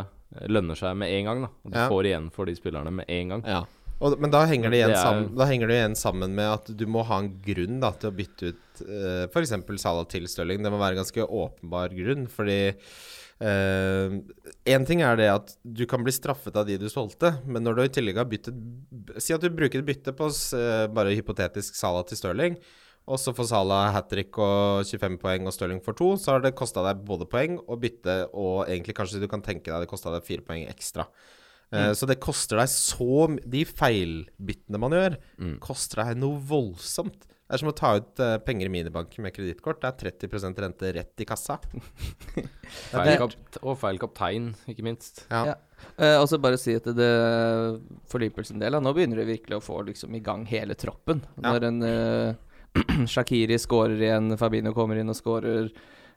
D: lønner seg med en gang. da At du
C: Ja.
D: får igjen for de spillerne med en gang.
C: Ja. Og, men da henger, det igjen
D: Det er-
C: sammen, da henger det igjen sammen med at du må ha en grunn da, til å bytte ut uh, f.eks. Salah til Stirling. Det må være en ganske åpenbar grunn, fordi Én ting er det at du kan bli straffet av de du solgte, men når du i tillegg har byttet Si at du bruker et bytte på s- eh, bare hypotetisk Salah til Stirling, og så får Salah hat trick og 25 poeng og Stirling får to, så har det kosta deg både poeng og bytte, og egentlig kanskje du kan tenke deg det kosta deg fire poeng ekstra.
B: Mm.
C: Eh, Så det koster deg så m- De feilbyttene man gjør,
B: Mm.
C: koster deg noe voldsomt. Det er som å ta ut eh, penger i minibanken med kredittkort. Det er 30 rente rett i kassa.
D: Feil kap og feil kaptein, ikke minst.
C: Ja.
B: Ja. Eh, og så bare si at det, det for Liverpools del, da, nå begynner det virkelig å få liksom, i gang hele troppen.
C: Ja.
B: Når en eh, Shakiri skårer igjen, Fabino kommer inn og skårer.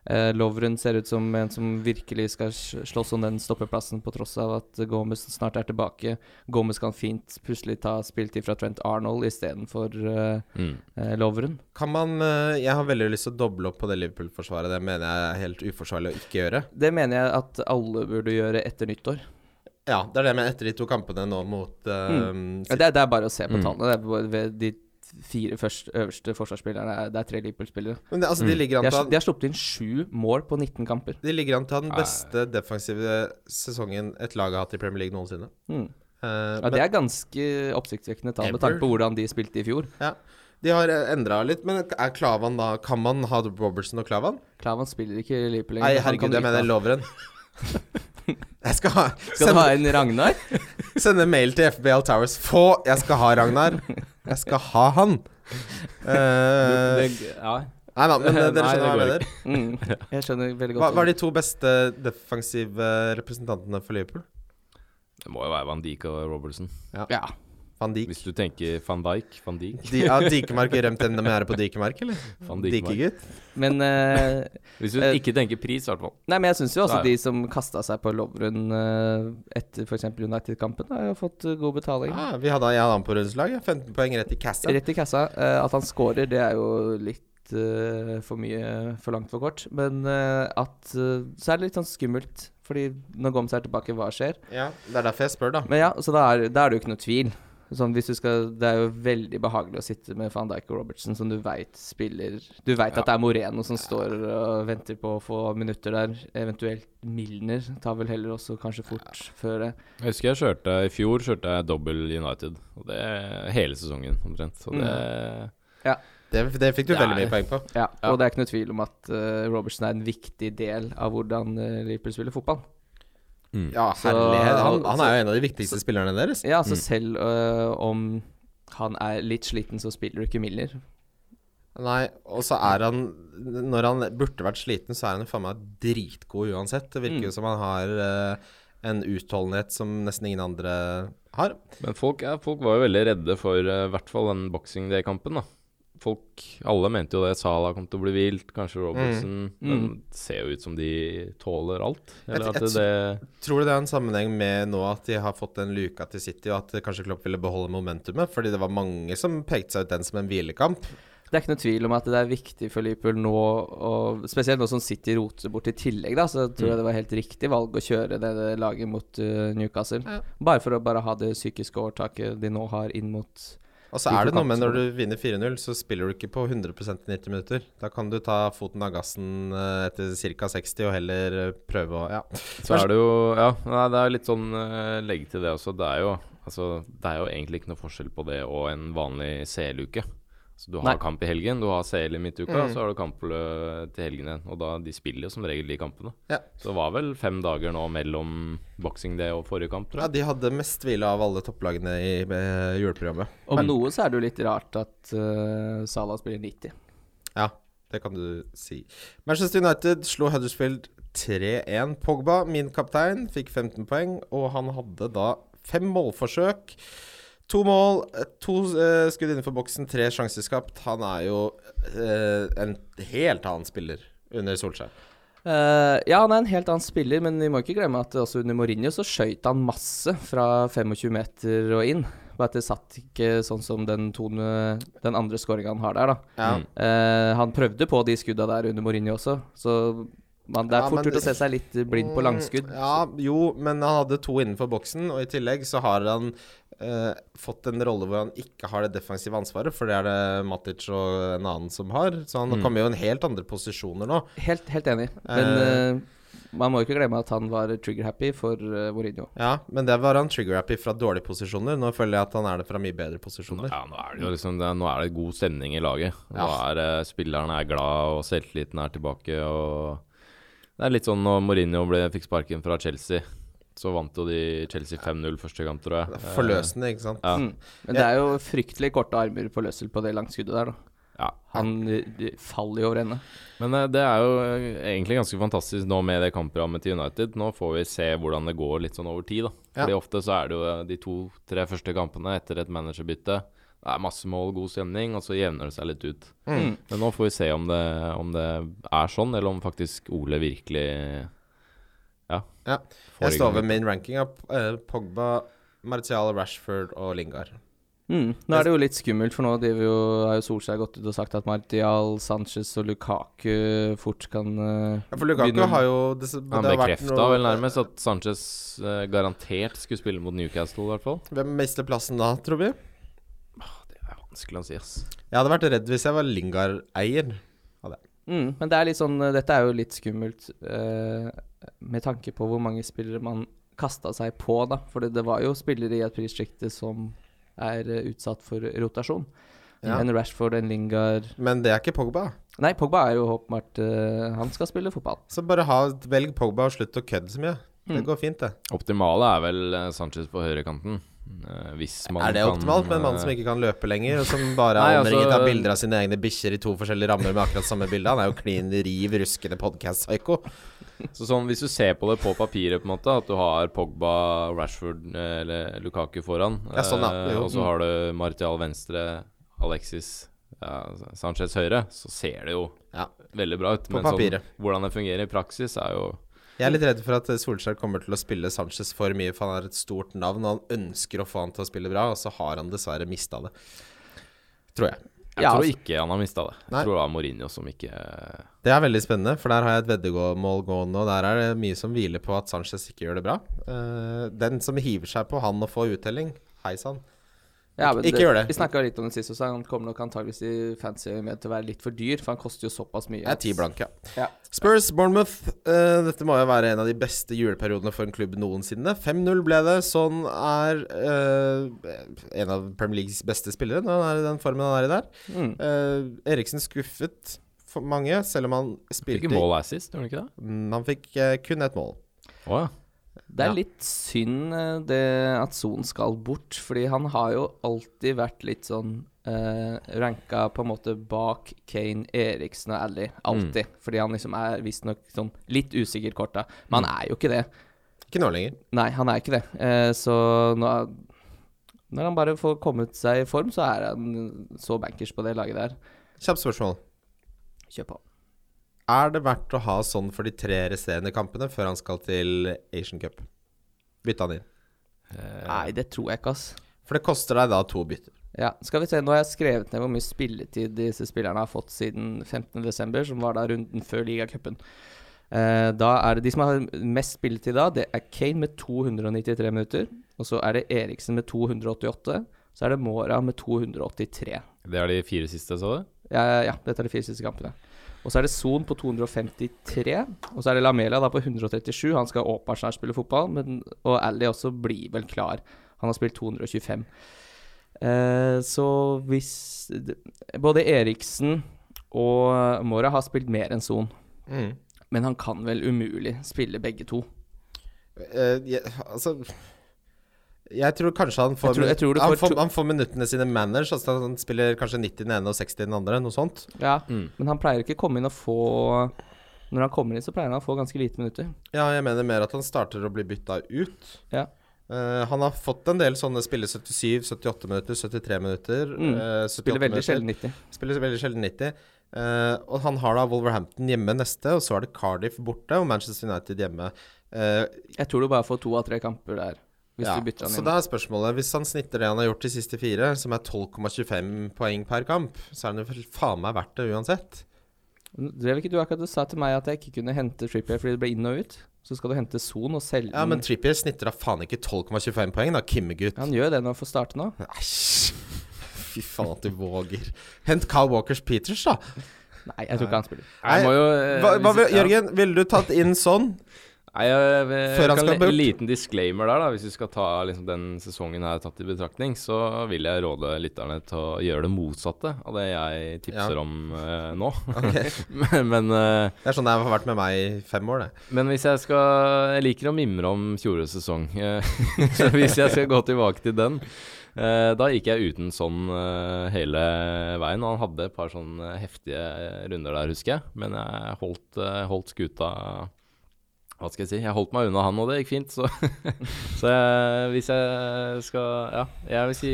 B: eh, Lovren ser ut som en som virkelig skal sl- slåss om den stoppeplassen, på tross av at Gomez snart er tilbake. Gomez kan fint plutselig ta spilletid fra Trent Arnold istedenfor uh,
D: Mm.
B: Lovren.
C: Kan man eh, Jeg har veldig lyst til å doble opp på det Liverpool-forsvaret. Det mener jeg er helt uforsvarlig å ikke gjøre.
B: Det mener jeg at alle burde gjøre etter nyttår.
C: Ja, det er det jeg mener etter de to kampene nå mot eh,
B: Ja, det, er, det er bare å se på
D: Mm.
B: tallene. Det er bare ved de fire første, øverste forsvarsspillerne er- Det er tre Liverpool-spillere.
C: Men det, altså, de
B: De
C: ligger an til
B: har-
C: å ha-
B: de har sluppet inn sju mål på 19 kamper.
C: de ligger an til å ha den
D: Nei.
C: beste defensive sesongen et lag har hatt i Premier League noensinne.
B: Mm.
C: Eh,
B: Ja, det er ganske oppsiktsvekkende tall med tanke på hvordan de spilte i fjor.
C: Ja. De har endra litt, men er Klavan da Kan man ha Robertson og Klavan?
B: Klavan spiller ikke i Liverpool
C: Nei,
B: lenger. Han kan
C: herregud,
B: du
C: jeg
B: ikke
C: mener
B: ha.
C: loveren. Jeg skal ha
B: Skal du
C: sende,
B: ha en Ragnar?
C: sende mail til FBL Towers. Få! Jeg skal ha Ragnar. Jeg skal ha han. Eh,
D: ja.
C: nei da, men
D: Nei,
C: eh, dere
D: det
C: skjønner hva jeg
D: går
C: mener.
B: Mm. Jeg skjønner veldig
C: Hva,
B: godt.
C: hva er de to beste defensive eh, representantene for Liverpool?
D: Det må jo være Van Dijk og Robertson.
B: Ja.
C: Van Dijk.
D: Hvis du tenker van Dijk, van Dijk,
C: De, ja, Dikemark rømte enda mer på Dikemark, eller?
D: van Dijk.
C: Dikegutt?
B: Men eh,
D: Hvis du
B: Eh,
D: ikke tenker pris, i hvert fall.
B: Nei, men jeg syns jo også
D: Nei.
B: de som kasta seg på Lovren eh, etter f.eks. United-kampen, har jo fått eh, god betaling.
C: Ja, vi hadde, jeg hadde han på rundslag. ja. 15 poeng rett i cassa.
B: Rett i kassa. Eh, at han scorer, det er jo litt eh, for mye for langt for kort. Men eh, at eh, Så er det litt sånn skummelt, fordi når Gomes er tilbake, hva skjer?
C: Ja, det er derfor jeg spør, da.
B: Men ja, så da er, da er det jo ikke noe tvil. Sånn, hvis du skal, det er jo veldig behagelig å sitte med van Dijk og Robertson, som du veit spiller Du veit at det er Moreno som står og venter på å få minutter der. Eventuelt Milner tar vel heller også kanskje fort før det.
D: Jeg husker jeg kjørte i fjor kjørte jeg dobbel United. Og det hele sesongen, omtrent. Så det
C: Det, det fikk du veldig
D: Nei.
C: mye poeng på.
B: Ja, Og det er ikke noe tvil om at eh, Robertson er en viktig del av hvordan eh, Liverpool spiller fotball.
C: Ja,
B: Mm. Så-
C: herlighet. Han, han er jo en av de viktigste spillerne deres.
B: Ja, altså selv eh, om han er litt sliten, så spiller du ikke Milner.
C: Nei, og så er han Når han burde vært sliten, så er han jo faen meg dritgod uansett. Det virker jo som han har eh, en utholdenhet som nesten ingen andre har.
D: Men folk, ja, folk var jo veldig redde for eh, i hvert fall den Boxing Day-kampen, da. Folk, Alle mente jo det. Sala kom til å bli vilt, kanskje Robertson. Men det ser jo ut som de tåler alt. Eller
C: Mm. Et-
D: at
C: et-
D: det,
C: Tror du det er en sammenheng med nå at de har fått en luka til City, og at kanskje Klopp ville beholde momentumet? Fordi det var mange som pekte seg ut den som en hvilekamp.
B: Det er ikke noe tvil om at det er viktig for Liverpool nå, og spesielt nå som City roter bort i tillegg, da, så tror jeg det var helt riktig valg å kjøre det det laget mot eh, Newcastle. Bare for å bare ha det psykiske overtaket de nå har inn mot
C: Og så er det noe med når du vinner 4-0, så spiller du ikke på 100 i 90 minutter. Da kan du ta foten av gassen eh, etter ca. 60 og heller eh, prøve å Ja.
D: så er det jo Ja, nei, det er litt sånn eh, legge til det også. Det er jo altså, det er jo egentlig ikke noe forskjell på det og en vanlig CL-uke. Så du har
B: Nei.
D: kamp i helgen, du har CL i midtuka,
C: Mm.
D: og så har du kamp eh, til helgen igjen. Og da, de spiller jo som regel de kampene.
C: Ja.
D: Så det var vel fem dager nå mellom Boxing Day og forrige kamp, tror jeg.
C: Ja, de hadde mest hvile av alle topplagene i eh, juleprogrammet.
B: Om noe så er det jo litt rart at eh, Salah spiller 90.
C: Ja, det kan du si. Manchester United slo Huddersfield 3-1. Pogba, min kaptein, fikk 15 poeng, og han hadde da fem målforsøk. To mål, eh, to eh, skudd innenfor boksen, tre sjanser skapt. Han er jo eh, en helt annen spiller under Solskjær.
B: Eh, ja, han er en helt annen spiller, men vi må ikke glemme at også under Mourinho så skøyt han masse fra 25 meter og inn. Bare at det satt ikke sånn som den, tone, den andre skåringa han har der, da.
C: Ja.
B: Eh, han prøvde på de skudda der under Mourinho også, så man, det
C: Ja,
B: er fort
C: men-
B: gjort å se seg litt blind på langskudd.
C: Mm, Ja, jo, men han hadde to innenfor boksen, og i tillegg så har han eh, fått en rolle hvor han ikke har det defensive ansvaret, for det er det Matic og en annen som har. Så han
D: Mm.
C: kommer jo i en helt andre posisjoner nå.
B: Helt, helt enig. Men
C: Eh.
B: eh, man må ikke glemme at han var trigger-happy for eh, Mourinho.
C: Ja, men der var han trigger-happy fra dårlige posisjoner. Nå føler jeg at han er det fra mye bedre posisjoner.
D: Ja, nå er det jo liksom det, Nå er det god stemning i laget. Nå er eh, Spillerne er glad, og selvtilliten er tilbake. Og det er litt sånn når Mourinho ble, fikk sparken fra Chelsea, så vant jo de Chelsea 5-0 første kamp, tror jeg. Eh,
C: Forløsende, ikke sant.
D: Ja.
B: Mm. Men det er jo fryktelig korte armer på Løssel på det langskuddet der, da.
D: ja.
B: Han eh, de- faller jo over ende.
D: Men eh, det er jo eh, egentlig ganske fantastisk nå med det kampprogrammet til United. Nå får vi se hvordan det går litt sånn over tid, da.
C: Ja.
D: Fordi ofte så er det jo eh, de to-tre første kampene etter et managerbytte. Det er masse mål, god stemning, og så jevner det seg litt ut.
C: Mm.
D: Men nå får vi se om det, om det er sånn, eller om faktisk Ole virkelig Ja.
C: Ja.
D: Får
C: Jeg
D: i
C: står
D: gang.
C: ved min ranking av eh, Pogba, Martial, Rashford og Lingard.
B: Mm. Nå er det jo litt skummelt, for nå driver jo, har jo Solskjær gått ut og sagt at Martial, Sanchez og Lukaku fort kan eh,
C: Ja, for Lukaku
B: begynne å-
C: har jo det, det
D: Han
C: har vært
D: bekrefta
C: noe-
D: vel nærmest at Sanchez eh, garantert skulle spille mot Newcastle, i hvert fall.
C: Hvem mister plassen da, tror vi?
D: Det er vanskelig å si, ass.
C: Jeg hadde vært redd hvis jeg var Lingard-eier.
B: Mm, men det er litt sånn, eh, dette er jo litt skummelt eh, med tanke på hvor mange spillere man kasta seg på, da. For det, det var jo spillere i et prissjikte som er eh, utsatt for rotasjon.
C: Ja.
B: En Rashford, en Lingard
C: Men det er ikke Pogba.
B: Nei, Pogba er jo åpenbart eh, Han skal spille fotball.
C: Så bare ha, velg Pogba og slutt å kødde så mye. Det går fint, det.
D: Optimale er vel eh, Sanchez på høyrekanten. eh, Hvis man
C: er det
D: kan,
C: optimalt med en mann som
D: eh,
C: ikke kan løpe lenger, og som bare
D: Nei,
C: er
D: altså-
C: omringet av bilder av sine egne bikkjer i to forskjellige rammer med akkurat samme bilde? Han er jo klin riv ruskende podkast-psyko.
D: Så sånn, Hvis du ser på det på papiret, på en måte, at du har Pogba, Rashford eh, eller Lukaku foran,
C: Ja, sånn, ja.
D: eh,
C: Jo.
D: og så har du Martial venstre, Alexis ja, Sanchez høyre, så ser det jo
C: Ja.
D: veldig bra ut.
C: På papiret.
D: Sånn, hvordan det fungerer i praksis, er jo
C: Jeg er litt redd for at Solskjær kommer til å spille Sanchez for mye, for han er et stort navn, og han ønsker å få han til å spille bra, og så har han dessverre mista det. Tror jeg.
D: Jeg
B: Ja,
D: tror
B: altså-
D: ikke han har mista det. Jeg
C: Nei.
D: tror det var Mourinho som ikke eh,
C: Det er veldig spennende, for der har jeg et veddemål gående, og der er det mye som hviler på at Sanchez ikke gjør det bra. Eh, den som hiver seg på han og får uttelling, hei sann.
B: Ja, men
C: Ikke gjør det.
B: Vi snakka litt om det sist også. Han kommer nok antageligvis i fancy med til å være litt for dyr, for han koster jo såpass mye.
C: Jeg er ti blank, ja.
B: Ja.
C: Spurs Bournemouth. Eh, dette må jo være en av de beste juleperiodene for en klubb noensinne. 5-0 ble det. Sånn er eh, en av Premier Leagues beste spillere når han er i den formen han er i der.
B: Mm.
C: Eh, Eriksen skuffet for mange, selv om han spilte
D: Ikke mål assist, gjorde han ikke det?
C: Mm, Han fikk eh, kun ett mål.
D: Å ja.
B: Det er
C: Ja.
B: litt synd eh, det at Son skal bort, fordi han har jo alltid vært litt sånn eh, ranka på en måte bak Kane, Eriksen og Ally. Alltid. Fordi han liksom er visstnok sånn litt usikker kort, da. Men han er jo ikke det.
C: Ikke nå lenger.
B: Nei, han er ikke det. Eh, så nå, når han bare får kommet seg i form, så er han så bankers på det laget der.
C: Kjapt spørsmål.
B: Kjør på.
C: Er det verdt å ha sånn for de tre resterende kampene før han skal til Asian Cup? Bytte han inn.
B: Nei, det tror jeg ikke, ass.
C: For det koster deg da to bytter.
B: Ja, skal vi se, Nå har jeg skrevet ned hvor mye spilletid disse spillerne har fått siden 15.12., som var da runden før ligacupen. Eh, da er det De som har mest spilletid da, det er Kane med 293 minutter. Og så er det Eriksen med 288. Så er det Mora med 283.
D: Det er de fire siste, sa du?
B: Ja, ja dette er de fire siste kampene. Og så er det Son på 253. Og så er det Lamela da på 137. Han skal åpenbart snart spille fotball, men, og Ally også blir vel klar. Han har spilt 225. Eh, så hvis d- Både Eriksen og Mora har spilt mer enn Son,
C: Mm.
B: men han kan vel umulig spille begge to.
C: Eh, jeg, altså Jeg tror kanskje han
B: Jeg
C: får,
B: tror- jeg tror du
C: han,
B: får
C: får
B: to-
C: han får minuttene sine managed. Altså han spiller kanskje 90 den ene og 60 den andre, noe sånt.
B: Ja,
D: Mm.
B: Men han pleier ikke å komme inn og få Når han kommer inn, så pleier han å få ganske lite minutter.
C: Ja, jeg mener mer at han starter å bli bytta ut.
B: Ja.
C: Eh, han har fått en del sånne spille 77, 78 minutter, 73 minutter.
B: Mm.
C: eh, 78
B: Spiller veldig
C: minutter.
B: sjelden 90.
C: Spiller veldig sjelden 90. Eh, og han har da Wolverhampton hjemme neste, og så er det Cardiff borte og Manchester United hjemme. Eh,
B: Jeg tror du bare får to av tre kamper der, hvis
C: ja,
B: du bytter han
C: så
B: inn.
C: da er spørsmålet Hvis han snitter det han har gjort de siste fire, som er 12,25 poeng per kamp, så er det jo vel faen meg verdt det uansett.
B: Drev ikke du akkurat og sa til meg at jeg ikke kunne hente Trippier fordi det ble inn og ut? Så skal du hente Son og selge
C: Ja, men Trippier snitter da faen ikke 12,25 poeng, da, Kimmegutt.
B: Han gjør det når han får starte nå.
C: Æsj. Fy faen at du våger. Hent Carl Walkers Peters, da.
B: Nei, jeg tror ikke han spiller.
D: Nei, jeg må jo eh,
C: Hva, hva,
D: hvis-
C: vil- Jørgen, ville du tatt inn sånn?
D: Nei, jeg, jeg,
C: Før han
D: jeg
C: skal
D: kan,
C: bort.
D: En liten disclaimer der, da. Hvis vi skal ta liksom, den sesongen her tatt i betraktning, så vil jeg råde lytterne til å gjøre det motsatte av det jeg tipser
C: Ja.
D: om eh, nå.
C: Ok.
D: men, men, eh,
C: Det er sånn det har vært med meg i fem år, det.
D: men hvis jeg skal Jeg liker å mimre om fjorårets sesong. eh, så hvis jeg skal gå tilbake til den eh, Da gikk jeg uten sånn eh, hele veien. Og han hadde et par sånne heftige runder der, husker jeg. Men jeg holdt, eh, holdt skuta Hva skal jeg si? Jeg holdt meg unna han, og det gikk fint. Så, så jeg, hvis jeg skal Ja, jeg vil si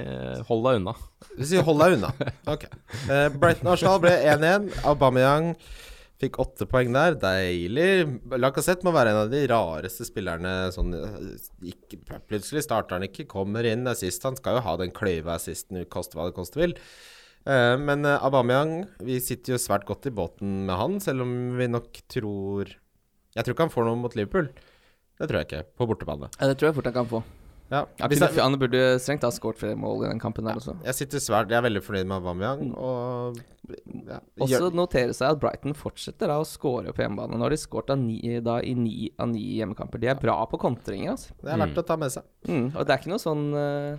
D: eh, hold deg unna.
C: Du sier hold deg unna. Ok. Eh, Brighton Arsenal ble 1-1. Aubameyang fikk åtte poeng der. Deilig. Lacassette må være en av de rareste spillerne sånn eh, ikke, Plutselig starter han ikke, kommer inn assist. Han skal jo ha den kløyve assisten, koste hva det koste vil. Eh, Men eh, Aubameyang, vi sitter jo svært godt i båten med han, selv om vi nok tror Jeg tror ikke han får noe mot Liverpool. Det tror jeg ikke, på bortebane.
B: Ja, det tror jeg fort han kan få.
C: Ja.
B: Ja,
C: Hvis jeg,
B: Filipiano burde strengt ha skåret flere mål i den kampen der også.
C: jeg sitter svært Jeg er veldig fornøyd med Aubameyang, og ja,
B: Mm. Også
C: gjør-
B: notere seg at Brighton fortsetter da å skåre på hjemmebane. Nå har de skåret av ni- da i ni av ni hjemmekamper. De er bra på kontringer, altså.
C: Det er verdt å ta med seg.
B: Mm, og det er ikke noe sånn uh,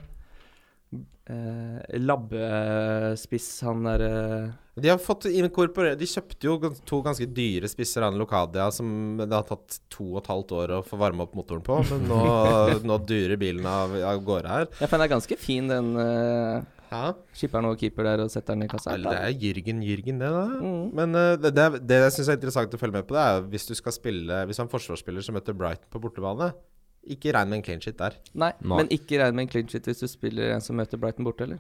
B: labbespiss han der eh,
C: De har fått inkorporert De kjøpte jo gans- to ganske dyre spisser av en Locadia som det har tatt to og et halvt år å få varme opp motoren på, men nå, nå durer bilen av, av gårde her.
B: Jeg finner det er ganske fin, den eh,
C: Ja.
B: skipper'n og keeper der og setter den i kassa.
C: Det er Jørgen Jørgen, det, da.
B: Mm.
C: Men eh, det, det, er- det jeg syns er interessant å følge med på, det er jo hvis du skal spille Hvis du er en forsvarsspiller som møter Brighton på bortebane, ikke regn med en clean shit der.
B: Nei,
D: Nei.
B: men ikke regn med en clean sheet hvis du spiller en som møter Brighton borte, eller?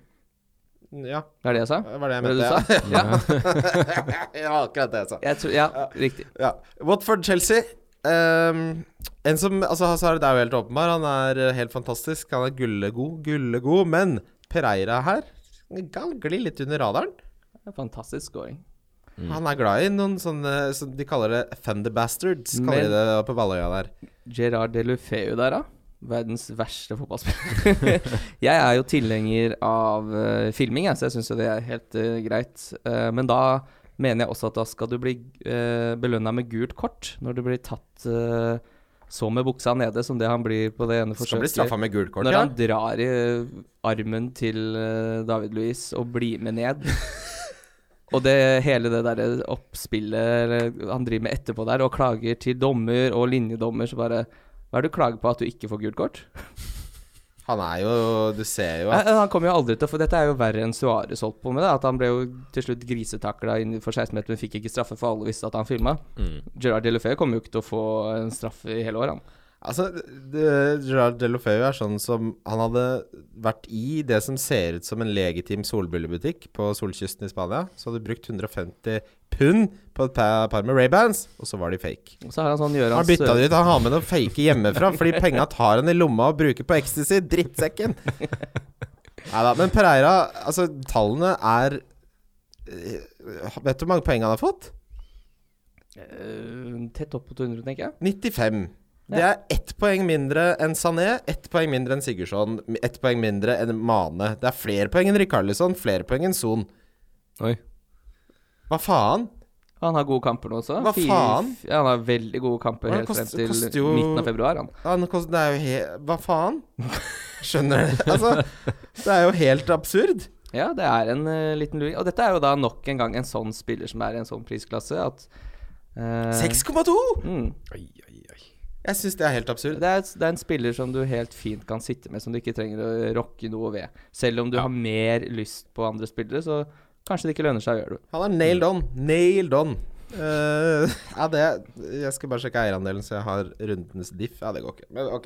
C: Ja,
B: Det er det jeg sa?
C: det var det jeg
B: Var det du
C: mente.
B: sa?
D: Ja.
C: ja. ja, akkurat det jeg sa.
B: Jeg tror, ja, riktig.
C: Ja. Watford-Chelsea. Ehm, en som Altså, Hazard er jo helt åpenbar. Han er eh, helt fantastisk. Han er gullegod, gullegod. Men Pereira her han glir litt under radaren.
B: Det er en Fantastisk scoring. Mm.
C: Han er glad i noen sånne som De kaller det Thunder Bastards, kaller
B: Men-
C: de det på Balløya der.
B: Gerard Delufeu der, da. Verdens verste fotballspiller. jeg er jo tilhenger av eh, filming, jeg, så jeg syns jo det er helt eh, greit. Eh, men da mener jeg også at da skal du bli uh, belønna med gult kort når du blir tatt eh, så med buksa nede som det han blir på det ene
C: Skal bli
B: forsøket.
C: straffa med gult kort,
B: når
C: ja.
B: han drar i armen til eh, David Luiz og blir med ned. og det hele det derre oppspillet eller, han driver med etterpå der, og klager til dommer og linjedommer, så bare Hva er det du klager på? At du ikke får gult kort?
C: Han er jo Du ser jo
B: Nei,
C: at
B: Han kommer jo aldri til å få Dette er jo verre enn Suárez holdt på med. Da, at han ble jo til slutt grisetakla innenfor 16 meter, men fikk ikke straffe, for alle visste at han filma.
D: Mm.
B: Gerard Delefeu kommer jo ikke til å få en straffe i hele år, han.
C: Altså, det- Gerard Delofeu er sånn som Han hadde vært i det som ser ut som en legitim solbrillebutikk på solkysten i Spania. Så hadde du brukt 150 pund på et par, par med Ray-Bans, og så var de fake.
B: Og så har han sånn
C: Han
B: Gøran
C: bytta
B: Sør-
C: det ut. Han har med noen fake hjemmefra, fordi penga tar han i lomma og bruker på ecstasy. Drittsekken! Neida, Men Pereira, altså, tallene er eh, Vet du hvor mange poeng han har fått?
B: Eh, Tett opp mot 100, tenker jeg.
C: 95. Det er ett poeng mindre enn Sané, ett poeng mindre enn Sigurdsson, ett poeng mindre enn Mane. Det er flere poeng enn Rikarlisson, flere poeng enn Son.
D: Oi.
C: Hva faen?
B: Han har gode kamper nå også.
C: Hva
B: Fire-
C: faen?
B: f- Ja, han har veldig gode kamper
C: Han
B: helt frem
C: koster-
B: til
C: koster jo-
B: midten av februar. Han.
C: Han kost- Det er jo he... Hva faen? Skjønner du? Altså, det er jo helt absurd.
B: Ja, det er en eh, liten luring. Og dette er jo da nok en gang en sånn spiller som er i en sånn prisklasse at eh,
C: 6,2!
B: Mm.
D: Oi, oi, oi.
C: Jeg syns det er helt absurd.
B: Det, er, det er en spiller som du helt fint kan sitte med, som du ikke trenger å rocke noe ved. Selv om du har mer lyst på andre spillere, så kanskje det ikke lønner seg å gjøre det.
C: Han er nailed on. Nailed on. Eh, ja, det Jeg skal bare sjekke eierandelen, så jeg har rundens diff. Ja, det går ikke. Men ok.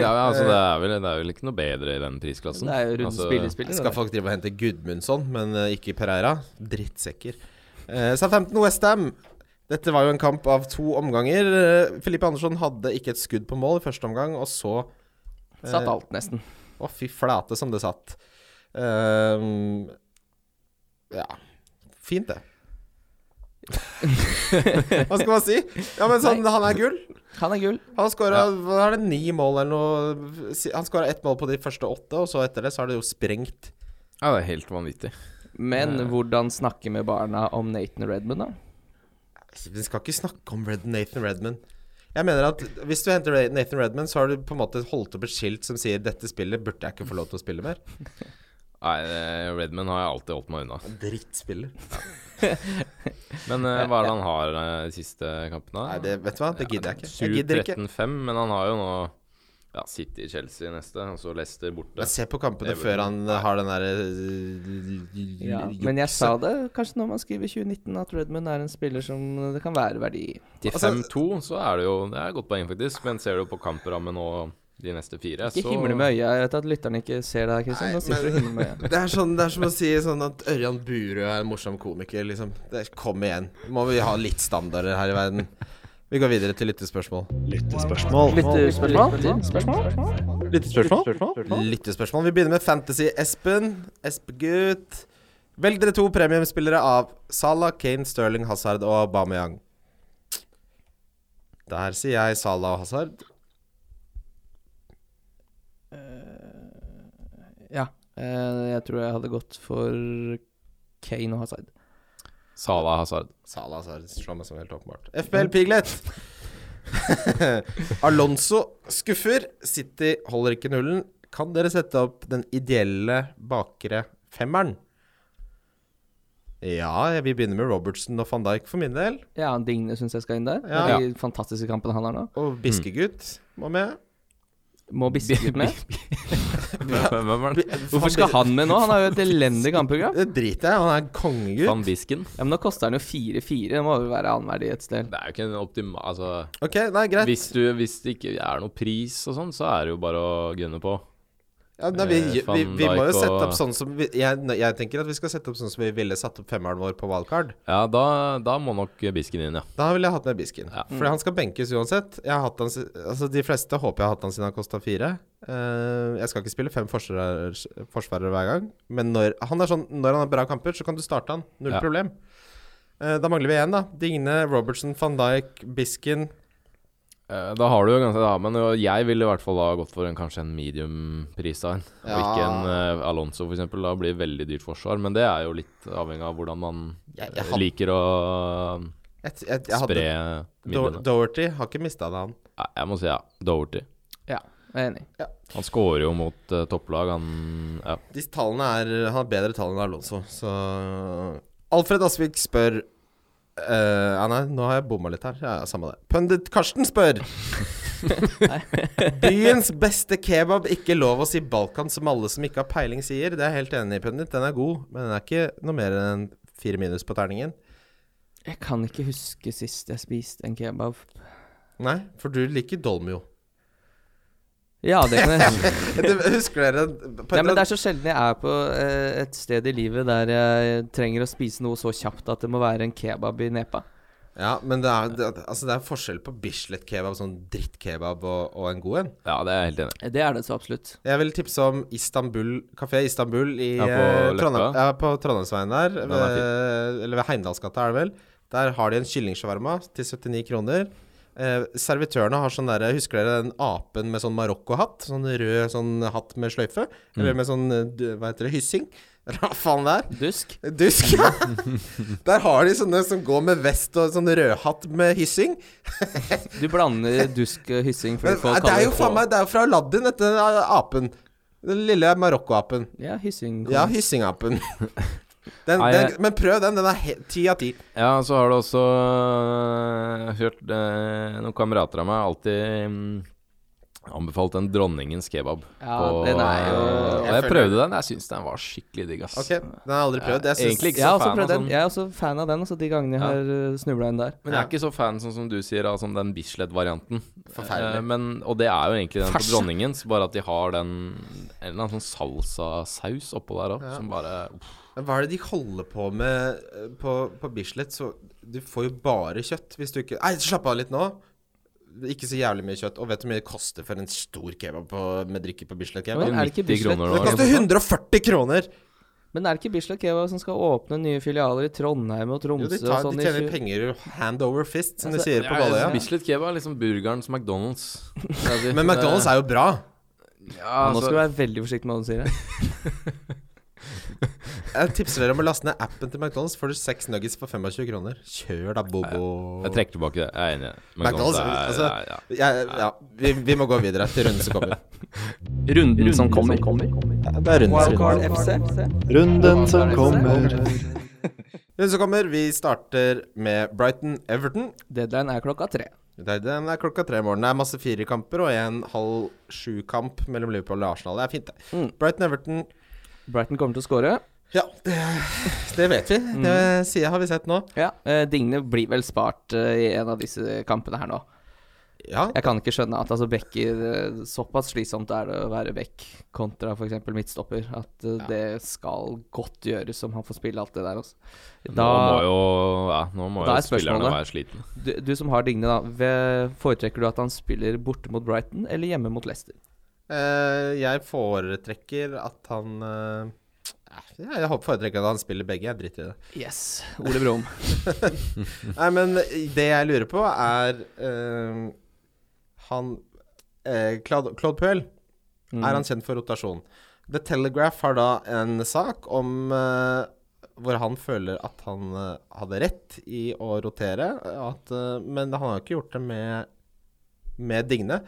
D: Ja, men altså, det er, vel, det er vel ikke noe bedre i den prisklassen.
B: Det er jo rundt
D: altså,
B: spillespiller.
C: Skal folk drive og hente Gudmundsson, men eh, ikke Pereira? Drittsekker. Uh, Southampton Westham. Dette var jo en kamp av to omganger. Eh, Filippe Andersson hadde ikke et skudd på mål i første omgang, og så eh,
B: Satt alt, nesten.
C: Å, fy flate som det satt. Ehm, ja. Fint, det. Hva skal man si? Ja, men sånn, Han er gull.
B: Han er gull.
C: Han har skåra ni mål eller noe. Si- Han skåra ett mål på de første åtte, og så etter det så har det jo sprengt
D: Ja, det er helt vanvittig.
B: Men hvordan snakke med barna om Nathan Redmond, da?
C: Altså, Vi skal ikke snakke om Red, Nathan Redman. Jeg mener at Hvis du henter Re- Nathan Redman, så har du på en måte holdt opp et skilt som sier 'Dette spillet burde jeg ikke få lov til å spille mer'.
D: Nei, eh, Redman har jeg alltid holdt meg unna.
C: Drittspiller.
D: Men eh, hva er det han har eh, de siste kampene?
C: Nei, det, vet du hva, det gidder jeg ikke. Jeg gidder ikke.
D: 7-13-5, men han har jo nå ja, City, Chelsea neste, og så Leicester borte.
C: Men se på kampene
D: Everton.
C: før han har den eh, derre
B: Ja, men jeg sa det kanskje når man skriver 2019, at Redmond er en spiller som eh, det kan være verdi i.
D: Til
C: altså-
D: 5-2 så er det jo Det er et godt poeng, faktisk, men ser du på kamprammen og de neste fire,
B: Ikke
D: så
B: himle med øya. Jeg vet at lytterne ikke ser det her, Kristian.
C: Nei,
B: Nå sitter du og
C: men-
B: himler med øya.
C: Det er, sånn, det er som å si sånn at Ørjan Burøe er en morsom komiker, liksom. Det, kom igjen. Må vi ha litt standarder her i verden. Vi går videre til lyttespørsmål.
E: Lyttespørsmål.
B: eh, Lyttespørsmål?
C: Lyttespørsmål. Vi begynner med Fantasy-Espen. Espegutt. Velg dere to premiumspillere av Salah, Kane, Sterling, Hazard og Aubameyang. Der sier jeg Salah og Hazard.
B: ja. Eh, jeg tror jeg hadde gått for Kane og Hazard.
D: Salah Hazard.
C: Salah Hazard slår meg som helt åpenbart. FPL Piglet! Alonso skuffer. City holder ikke nullen. Kan dere sette opp den ideelle bakre femmeren? Ja, jeg vil begynne med Robertson og van Dijk for min del.
B: Ja, Digne syns jeg skal inn der.
C: Ja.
B: De fantastiske kampene han har nå.
C: Og
D: Mm.
C: Biskegutt må med.
B: Må Biskut med.
D: Hvem er den?
B: Hvorfor skal han med nå? Han har jo et elendig kampprogram.
C: Det driter jeg i. Han er en kongegutt.
D: Van Bisken?
B: Ja, Men nå koster han jo 4-4. Det må jo være annenverdig et sted.
D: Det er jo ikke en optimal Altså,
C: Ok, nei, greit.
D: hvis, du, hvis det ikke er noe pris og sånn, så er det jo bare å gunne på.
C: Ja, nei, vi,
D: eh,
C: vi,
D: Van
C: vi må
D: Dijk
C: jo sette
D: og-
C: opp sånn som vi, jeg, jeg tenker at vi skal sette opp sånn som vi ville satt opp femmeren vår på wildcard.
D: Ja, da, da må nok Bisken inn, ja.
C: Da ville jeg hatt med Bisken.
D: Ja.
C: Fordi han skal benkes uansett. Jeg har hatt han, si- altså de fleste håper jeg har hatt han siden han kosta fire. Eh, jeg skal ikke spille fem forsvarer, forsvarere hver gang, men når han, er sånn, når han har bra kamper, så kan du starte han. Null
D: Ja.
C: problem. Eh, da mangler vi én, da. Digne, Robertson, van Dijk, Bisken.
D: Eh, Da har du jo ganske da, Men jo, jeg ville i hvert fall da gått for en, kanskje en medium-pris av en. Og
C: Ja.
D: ikke en eh, Alonso, for eksempel. Da blir det veldig dyrt forsvar. Men det er jo litt avhengig av hvordan man
C: Jeg,
D: eh,
C: jeg, had,
D: liker å
C: jeg, jeg, jeg hadde
D: spre
C: Do-
D: midlene.
C: Doherty har ikke mista det, han.
D: Nei, Jeg må si ja. Doherty.
B: Ja, jeg er enig.
D: Han scorer jo mot eh, topplag, han Ja.
C: De tallene er Han har bedre tall enn Alonso, så Alfred Asvik spør eh, Ja, nei, nå har jeg bomma litt her. Ja, ja, samme det. Pundit Karsten spør Byens beste kebab, ikke lov å si Balkan som alle som ikke har peiling sier. Det er jeg helt enig i, Pundit. Den er god, men den er ikke noe mer enn fire minus på terningen.
B: Jeg kan ikke huske sist jeg spiste en kebab.
C: Nei, for du liker Dolmio.
B: Ja, det kan jeg huske.
C: Du, husker dere på
B: Nei,
C: et
B: men det er så sjelden jeg er på eh, et sted i livet der jeg trenger å spise noe så kjapt at det må være en kebab i nepa.
C: Ja, men det er, det, altså det er forskjell på Bislett kebab, sånn drittkebab, og, og en god en.
D: ja, det er jeg helt enig i.
B: Det er det så absolutt.
C: Jeg vil tipse om Istanbul, Kafé Istanbul i
D: Ja, på
C: eh,
D: Løkka.
C: Trondheim, ja, på Trondheimsveien der.
D: Den er
C: Ved, eller ved Heimdalsgata, er det vel. Der har de en kyllingshawarma til 79 kroner. Eh, servitørene har sånn derre Husker dere den apen med sånn marokkohatt? Sånn rød sånn hatt med sløyfe?
D: Mm.
C: Eller med sånn eh, du- Hva heter det? Hyssing? Eller hva faen det er?
B: Dusk.
C: Dusk, ja. Der har de sånne som går med vest og sånn rødhatt med hyssing.
B: Du blander dusk og hyssing fordi
C: Men eh,
B: folk
C: det er
B: kaller
C: jo faen meg Det er jo fra Aladdin, dette eh, apen. Den lille marokkoapen.
B: Ja, hyssing.
C: Ja, hyssingapen. Den,
D: Mm. Nei,
C: den,
D: jeg-
C: men prøv den. Den er he- ti av ti.
D: Ja, så har du også øh, hørt øh, noen kamerater av meg alltid mm, anbefalt den dronningens kebab.
B: Ja, den er
D: øh,
B: jo-
D: Og
C: Jeg
D: jeg
C: føler-
D: prøvde den. Jeg syns den var skikkelig digg, ass.
C: Ok, den har jeg aldri prøvd. Jeg
D: Ja, egentlig
C: syns
D: ikke
B: Jeg
D: så
B: har også
D: fan av
B: prøvd den.
D: sånn.
B: Jeg er også fan av den, altså de gangene jeg
D: Ja.
B: har snubla inn der.
D: Men jeg er ikke så fan, sånn som du sier, av sånn den Bislett-varianten.
C: Forferdelig.
D: Eh, men, og det er jo egentlig den på
B: Farse.
D: dronningens, bare at de har den en eller annen sånn salsasaus oppå der òg, som bare uff,
C: Men Hva er det de holder på med eh, på, på Bislett? Så du får jo bare kjøtt hvis du ikke Nei, slapp av litt nå. Ikke så jævlig mye kjøtt. Og vet du hvor mye det koster for en stor kebab på, med drikke på Bislett
B: Men
C: kebab?
B: er det
D: 90 kroner
B: ikke Bislett?
C: Det
D: nå, liksom. eller?
C: koster 140 kroner!
B: Men er det ikke Bislett Kebab som skal åpne nye filialer i Trondheim og
C: Jo,
B: Tromsø
C: de,
B: og
C: tar,
B: sånn?
C: de
B: i
C: tjener
B: tjue-
C: penger jo hand over fist, som de
B: Altså,
C: sier på Balløya.
D: Ja, Bislett kebab er liksom burgerens McDonald's.
C: Men McDonald's
D: eh,
C: er jo bra.
D: ja,
B: Nå
D: altså,
B: skal du være veldig forsiktig med hva du sier. her.
C: Jeg tipser dere om å laste ned appen til McDonald's. Får du seks nuggets for 25 kroner. Kjør da, Bobo.
D: Jeg trekker tilbake det. Jeg er enig.
C: McDonald's, altså-
D: er- ja.
C: Jeg, ja, vi, vi må gå videre til runden som kommer.
B: Runden som kommer.
C: Det er runden som
B: Wildcard
C: kommer.
B: FC.
E: Runden som kommer.
C: Runden som kommer, Vi starter med Brighton-Everton.
B: Deadline er klokka tre.
C: Det er- Den er klokka tre i morgen. Det er masse firekamper og en halv sju-kamp mellom Liverpool og Arsenal. Det er fint, det.
B: Mm.
C: Brighton-Everton
B: Brighton kommer til å score.
C: Ja, det, det vet vi. Det sier, har vi sett nå.
B: Ja. eh, Digne blir vel spart eh, i en av disse kampene her nå.
C: Ja,
B: Jeg kan ikke skjønne at altså backer eh, Såpass slitsomt er det å være back kontra f.eks. midtstopper. At eh, det skal godt gjøres om han får spille alt det der. Altså.
D: Nå må
B: Da,
D: jo, ja, nå må jo
B: Da er
D: spillerne
B: spørsmålet.
D: være slitne.
B: du, du som har Digne, da. ve- Foretrekker du at han spiller borte mot Brighton eller hjemme mot Leicester?
C: Eh, jeg foretrekker at han eh, Jeg håper foretrekker at han spiller begge. Jeg driter i det.
B: Yes, Ole Brumm.
C: Nei, men det jeg lurer på, er eh, Han eh, Claude, Claude Puel
B: Mm.
C: er han kjent for rotasjon. The Telegraph har da en sak om eh, hvor han føler at han eh, hadde rett i å rotere, at, eh, men han har jo ikke gjort det med, med Digne.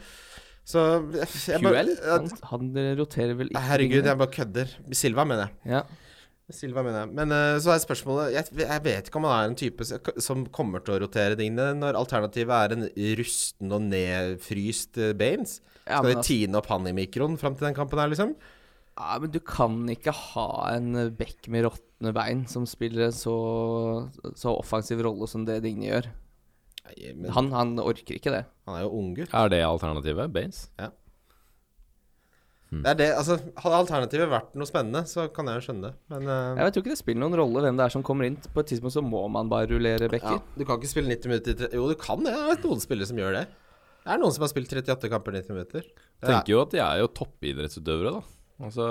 C: Så jeg, jeg bare-
B: QL?
C: Ja,
B: Han, han roterer vel ikke
C: Herregud,
B: ringene.
C: jeg bare kødder. Silva, mener jeg.
B: ja.
C: Silva, mener jeg. Men eh, så er spørsmålet jeg, jeg vet ikke om han er en type som- som kommer til å rotere dingene når alternativet er en rusten og nedfryst eh, Baines.
B: Ja,
C: Skal
B: men
C: de
B: altså-
C: tine opp han i mikroen fram til den kampen her, liksom?
B: Ja, men du kan ikke ha en bekk med råtne bein som spiller en så, så offensiv rolle som det Digne gjør.
C: Nei, men han,
B: Han, han orker ikke det.
C: er jo unggutt.
D: Er det alternativet? Baines?
C: Det er det, altså, hadde alternativet vært noe spennende, så kan jeg jo skjønne det. Men eh,
B: Jeg tror ikke det spiller noen rolle hvem det er som kommer inn. På et tidspunkt så må man bare rullere
C: ja,
B: bekker.
C: du kan ikke spille 90 minutter i tre... Jo, du kan det. Det er noen spillere som gjør det. Det er noen som har spilt 38 kamper 90 minutter. Det er,
D: Tenker jo at de er jo toppidrettsutøvere, da. Altså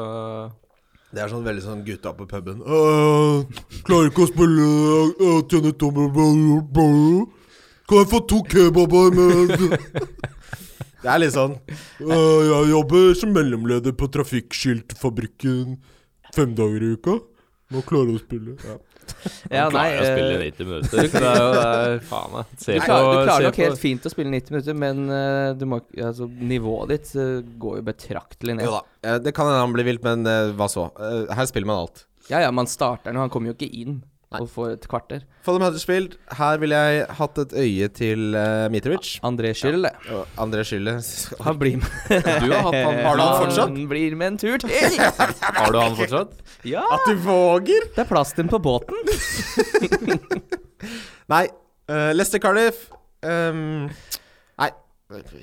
C: det er sånn veldig sånn gutta på puben. «Øh, Klarer ikke å spille øh, tjene tommer Kan jeg få to kebaber med Det er litt sånn. «Øh, Jeg jobber som mellomleder på Trafikkskiltfabrikken fem dager i uka. Må klare å spille. Ja.
B: Ja,
D: Han klarer å
B: eh,
D: spille 90 minutter. Så det er jo det er, faen, jeg. Se
B: du klarer, du klarer
D: se
B: nok helt fint å spille 90 minutter, men eh, du må, ikke- altså, nivået ditt eh, går jo betraktelig ned.
C: Jo da. eh, Det kan hende han blir vilt, men eh, hva så? Eh, Her spiller man alt.
B: Ja, ja, man starter nå. Han kommer jo ikke inn og får et kvarter.
C: Follum Huddersfield, her ville jeg hatt et øye til eh, Mitrovic.
B: André Schill, det.
C: Og André Schille
B: Han blir med.
D: Du har hatt han.
C: Har du han fortsatt?
B: Han blir med en tur til!
D: Har du han fortsatt?
B: Ja!
C: At du våger!
B: Det er plass til den på båten.
C: Nei. eh, Leicester Cardiff ehm, Nei.